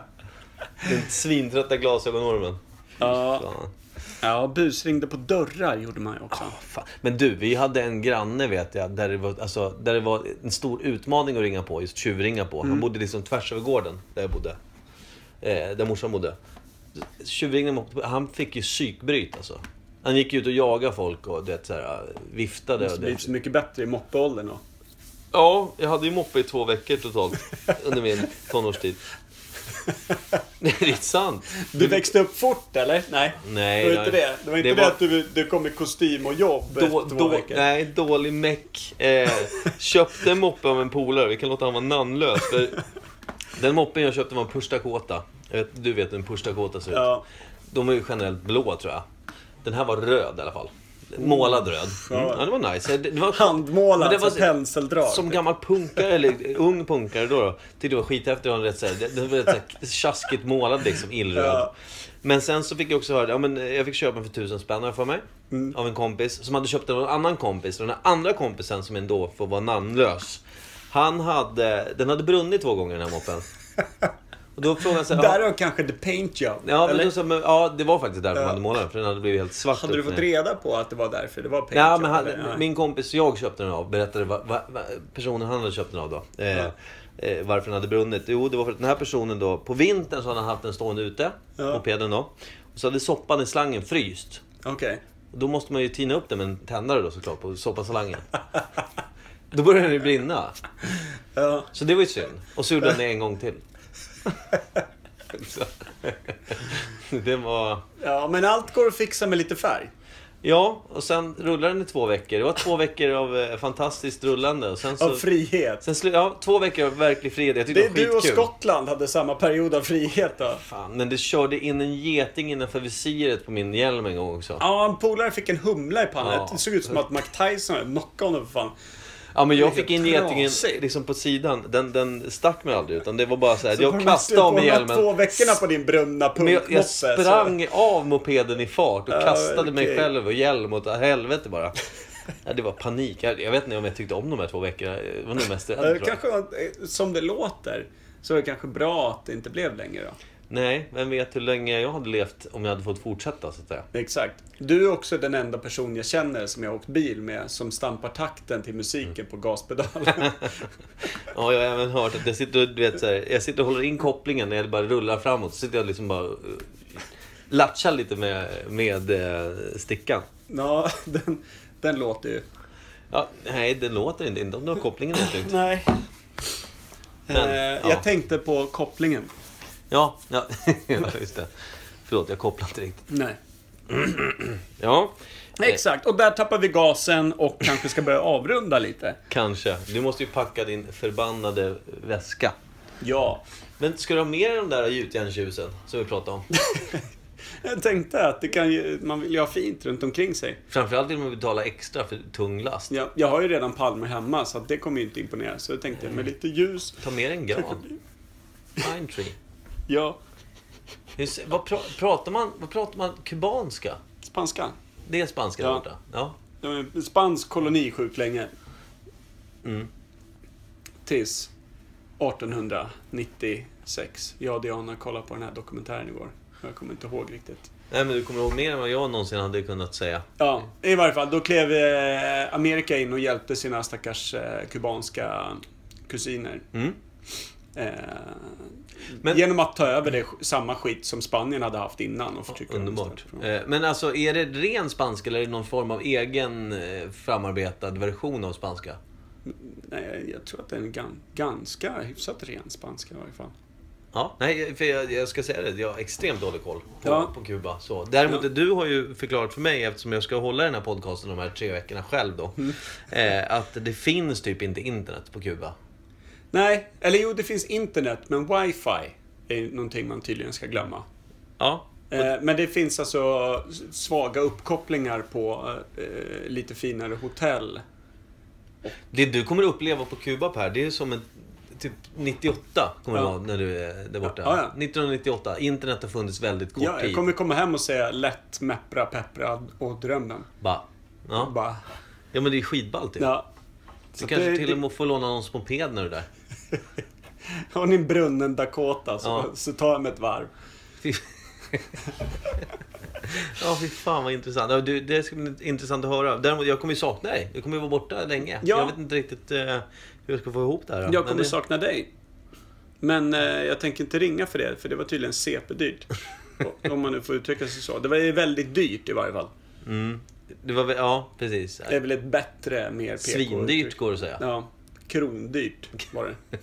C: Den svintrötta glasögonormen.
B: Ja,
C: Fan.
B: ja busringde på dörrar gjorde man ju också.
C: Ah, Fan. Men du, vi hade en granne vet jag, där det var, alltså, där det var en stor utmaning att ringa på, just tjuvringa på. Han bodde liksom tvärs över gården, där jag bodde. Eh, där morsan bodde. Tjuvringade man på- han fick ju psykbryt alltså. Han gick ut och jagade folk och det, så här, ah, viftade.
B: Det
C: Och
B: blir
C: det.
B: så mycket bättre i moppeåldern då.
C: Ja, jag hade ju moppe i två veckor totalt under min tonårstid. Nej, det är sant.
B: Du växte upp fort eller? Nej.
C: Nej,
B: det var inte
C: nej.
B: det. Det var inte
C: Det
B: det,
C: var-
B: att du, du kom i kostym och jobb
C: Då,
B: efter två
C: då,
B: veckor.
C: nej, dålig meck. Eh, köpte en moppe av en polare, vi kan låta han vara namnlös. För den moppen jag köpte var en Push Dakota. Jag vet- Du vet hur en Push Dakota ser ut.
B: Ja.
C: De är ju generellt blå tror jag. Den här var röd i alla fall. Målad röd. Mm. Ja, det var nice. Det, det var, Men
B: Handmålad,
C: det var-
B: alltså penseldrag.
C: som gammal punkare, eller ung punkare då, då tyckte det var skithäftigt att ha en rätt såhär, den var rätt såhär tjaskigt målad liksom, illröd.
B: Ja.
C: Men sen så fick jag också höra, ja men eh, jag fick köpa den för tusen spänn har jag för mig.
B: Mm.
C: Av en kompis, som hade köpt den av en annan kompis. Och den här andra kompisen, som ändå får vara namnlös. Han hade, den hade brunnit två gånger den här moppen. Och då frågade han såhär,
B: Där
C: ja,
B: har kanske the paint job.
C: ja, men
B: eller?
C: då, sa jag, men, ja det var faktiskt därför
B: Ja.
C: man hade målat den, för den hade blivit helt svart.
B: Hade du
C: upp
B: fått
C: ner.
B: reda på att det var därför det var paint
C: Ja,
B: job,
C: men han,
B: eller? Nej.
C: min kompis jag köpte den av berättade vad, vad, vad personen han hade köpt den av då. Eh, eh, varför den hade brunnit. Jo, det var för att den här personen då, på vintern så hade han haft den stående ute,
B: Ja.
C: mopeden då. Och så hade soppan i slangen fryst.
B: Okej.
C: Och då måste man ju tina upp den med en tändare då såklart, på soppanslangen. då började den ju brinna.
B: Ja.
C: Så det var ju synd. Och så gjorde han det en gång till. så. det var...
B: ja, men allt går att fixa med lite färg.
C: Ja, och sen rullade den i två veckor. Det var två veckor av eh, fantastiskt rullande. Och sen så...
B: Av frihet.
C: Sen slu- ja, två veckor av verklig frihet. Jag tyckte
B: Det
C: det
B: är
C: var
B: du
C: skitkul.
B: och Skottland hade samma period av frihet då.
C: Fan, men det körde in en geting innanför visiret på min hjälm en gång också.
B: Ja, en polare fick en humla i pannan.
C: Ja.
B: Det såg ut som att Mike Tyson hade knockat honom för fan.
C: Ja, men jag
B: det är
C: fick in
B: helt
C: getingen
B: trasigt.
C: liksom på sidan. Den, den stack mig aldrig, utan det var bara så här.
B: Så
C: jag
B: var de
C: kastade av
B: på
C: mig
B: de här två
C: hjälmen.
B: veckorna på din brunna
C: Men
B: punkmoppe.
C: jag, jag
B: så-
C: sprang av mopeden i fart och
B: Ja,
C: kastade mig
B: okej.
C: själv och hjälm åt helvete bara. Ja, det var panik. Jag, jag vet inte om jag tyckte om de här två veckorna. Det var nog mest det.
B: Ja, Det
C: tror jag.
B: kanske var, eh, som det låter, så är det kanske bra att det inte blev längre då.
C: Nej, vem vet hur länge jag hade levt om jag hade fått fortsätta så att säga.
B: Exakt. Du är också den enda person jag känner som jag har åkt bil med som stampar takten till musiken på
C: Mm.
B: gaspedalen.
C: Ja, jag har även hört att jag sitter och, du vet, så här, jag sitter och håller in kopplingen när jag bara rullar framåt. Så sitter jag liksom bara uh, latchar lite med, med eh, stickan.
B: ja, den, den låter ju.
C: Ja, nej, den låter inte. Inte om du har kopplingen uttryckt.
B: Nej.
C: Men,
B: eh,
C: ja.
B: Jag tänkte på kopplingen.
C: Ja, ja, ja, just det. Förlåt, jag kopplade inte riktigt.
B: Nej.
C: Ja, eh,
B: Exakt, och där tappar vi gasen och kanske ska börja avrunda lite.
C: kanske. Du måste ju packa din förbannade väska.
B: Ja,
C: Men ska du ha mer än de där gjutjärnstjusen som vi pratade om?
B: jag tänkte att det kan ju, man vill ju ha fint runt omkring sig.
C: Framförallt vill man betala extra för tung last.
B: Jag, jag har ju redan palmer hemma så att det kommer ju inte imponera. Så jag tänkte med lite ljus.
C: Ta med dig en gran. Pine tree.
B: Ja,
C: Hur, s- vad, pra, pratar man, vad pratar man kubanska?
B: spanska.
C: Det är spanska där
B: Ja.
C: borta? Ja.
B: det var en spansk koloni sjukt länge.
C: Mm.
B: Tills 1896. Jag och Diana kollade på den här dokumentären igår. Jag kommer inte ihåg riktigt.
C: Nej, men du kommer ihåg mer än vad jag någonsin hade kunnat säga.
B: Ja, i varje fall. Då klev eh, Amerika in och hjälpte sina stackars eh, kubanska kusiner.
C: Mm.
B: Eh,
C: Men-
B: genom att ta över det, sk- samma skit som Spanien hade haft innan och förtrycka dem
C: Underbart.
B: istället för dem.
C: Eh, Men alltså, är det ren spanska eller är det någon form av egen eh, framarbetad version av spanska?
B: Nej, jag tror att det är en gan, ganska hyfsat ren spanska i varje fall.
C: Ja, nej, för jag, jag ska säga det, jag har extremt dålig koll på,
B: Ja.
C: på Kuba. Så. Däremot,
B: Ja.
C: du har ju förklarat för mig, eftersom jag ska hålla den här podcasten de här tre veckorna själv då,
B: Mm.
C: eh, att det finns typ inte internet på Kuba.
B: Nej, eller jo, det finns internet, men wifi är någonting man tydligen ska glömma.
C: Ja.
B: Eh, Men det finns alltså svaga uppkopplingar på eh, lite finare hotell.
C: Det du kommer uppleva på Kuba Per, det är som en... Typ 98 kommer det
B: Ja.
C: vara när du är där borta.
B: Ja, ja.
C: 1998. Internet har funnits väldigt kort
B: Ja, jag
C: tid.
B: kommer komma hem och säga lätt, meppra, peppra och drömmen.
C: Bara, ja.
B: Bara,
C: ja, men det är skitballt ju.
B: ja.
C: Du
B: Så
C: kanske
B: det-
C: till och med får låna någons moped när du är där.
B: Har ni en brunnen Dakota så,
C: Ja.
B: så tar jag mig ett varv.
C: Fy- ja, fy fan vad intressant. Ja, du, det ska bli intressant att höra. Däremot, jag kommer ju sakna dig. Du kommer ju vara borta länge.
B: Ja.
C: Jag vet inte riktigt eh, hur jag ska få ihop det här.
B: Jag kommer
C: det...
B: sakna dig. Men eh, jag tänker inte ringa för det, för det var tydligen CP-dyrt. O- Om man nu får uttrycka sig så. Det var ju väldigt dyrt i varje fall.
C: Mm. Det var väl, ja, precis.
B: Det är väl ett bättre, mer PK
C: Svindyrt går det att säga.
B: Ja. Krondyrt var det.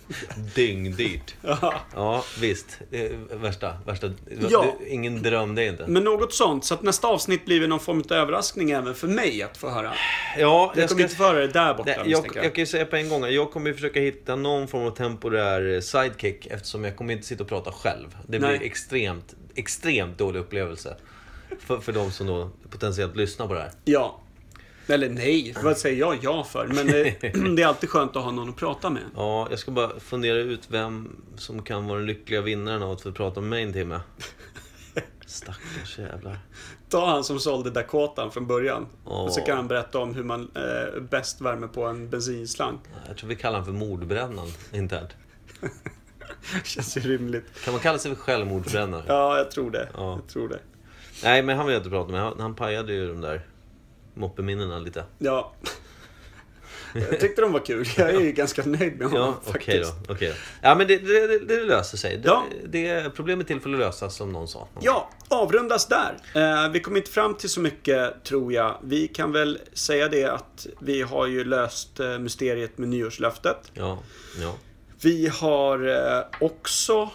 C: Dyngdyrt.
B: Ja.
C: Ja, visst. Det är Värsta, värsta.
B: Ja.
C: Det- Ingen dröm det inte.
B: Men något sånt, så att nästa avsnitt blir väl någon form av överraskning även för mig att få höra.
C: Ja,
B: Jag kommer inte få höra det där borta
C: Nej, jag, jag
B: misstänker
C: kan ju säga på en gång, jag kommer ju försöka hitta någon form av temporär eh, sidekick eftersom jag kommer inte sitta och prata själv. Det blir
B: Nej.
C: extremt, extremt dålig upplevelse. För, för de som då potentiellt lyssnar på det här.
B: Ja. Eller nej, vad säger jag ja för? Men eh, det är alltid skönt att ha någon att prata med.
C: Ja, jag ska bara fundera ut vem som kan vara den lyckliga vinnaren av att få prata med mig en timme. Stackars jävlar.
B: Ta han som sålde Dakotan från början.
C: Åh.
B: Och så kan han berätta om hur man eh, bäst värmer på en bensinslang.
C: Jag tror vi kallar honom för mordbrännan internt.
B: Känns ju rimligt.
C: Kan man kalla sig för självmordsbrännare?
B: Ja, jag tror det.
C: Ja.
B: Jag tror det.
C: Nej, men han vill jag inte prata med. Han, han pajade ju de där moppeminnena lite.
B: Ja. Jag tyckte de var kul. Jag är ju ganska nöjd med honom
C: Ja,
B: faktiskt.
C: okej då, okej då. Ja, men det, det, det- det löser sig. Det,
B: Ja.
C: det, problemet är till för att lösas, som någon sa.
B: Ja, avrundas där. Eh, vi kom inte fram till så mycket, tror jag. Vi kan väl säga det att vi har ju löst eh, mysteriet med nyårslöftet.
C: Ja, ja.
B: Vi har eh, också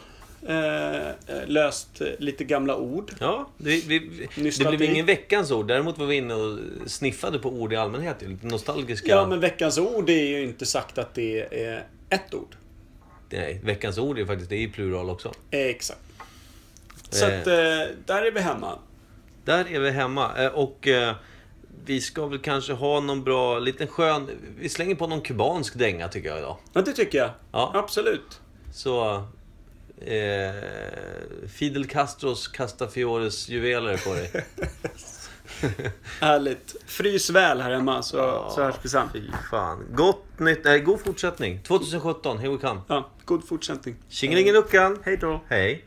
B: eh, eh, löst eh, lite gamla ord.
C: ja det, vi, vi,
B: Nyss
C: det blev
B: alltid.
C: ingen veckans ord. Däremot var vi inne och sniffade på ord i allmänhet. ju. Lite nostalgiska.
B: Ja, men veckans ord är ju inte sagt att det är ett ord.
C: Nej, veckans ord är faktiskt det är i plural också.
B: Eh, exakt. Så
C: Eh.
B: att eh, där är vi hemma.
C: Där är vi hemma. Eh, Och eh, vi ska väl kanske ha någon bra, liten skön... Vi slänger på någon kubansk dänga tycker jag idag.
B: Ja, det tycker jag.
C: Ja.
B: Absolut.
C: Så... Eh, Fidel Castros Castafiores juveler på dig.
B: Härligt. Frys väl här hemma så, så hörs vi sen.
C: Fy fan. Gott nytt... Nej, god fortsättning. 2017, here we come.
B: Ja, god fortsättning.
C: Tjingelingeluckan!
B: Hej då.
C: Hej.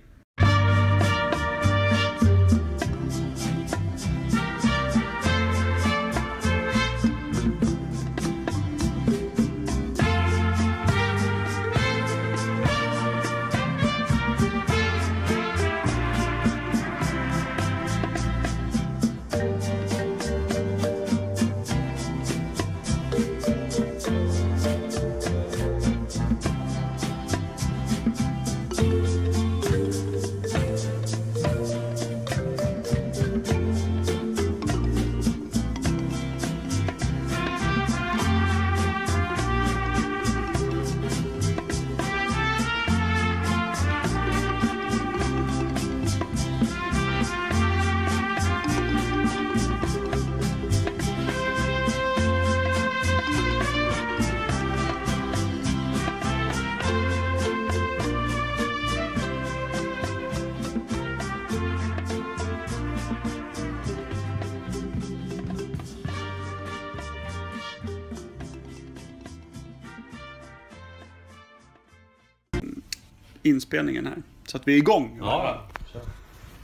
B: inspelningen här. Så att vi är igång.
C: Ja,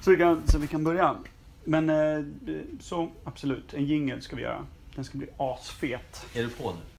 B: Så, vi kan, så vi kan börja. Men eh, så absolut, en jingle ska vi göra. Den ska bli asfet.
C: är du på nu?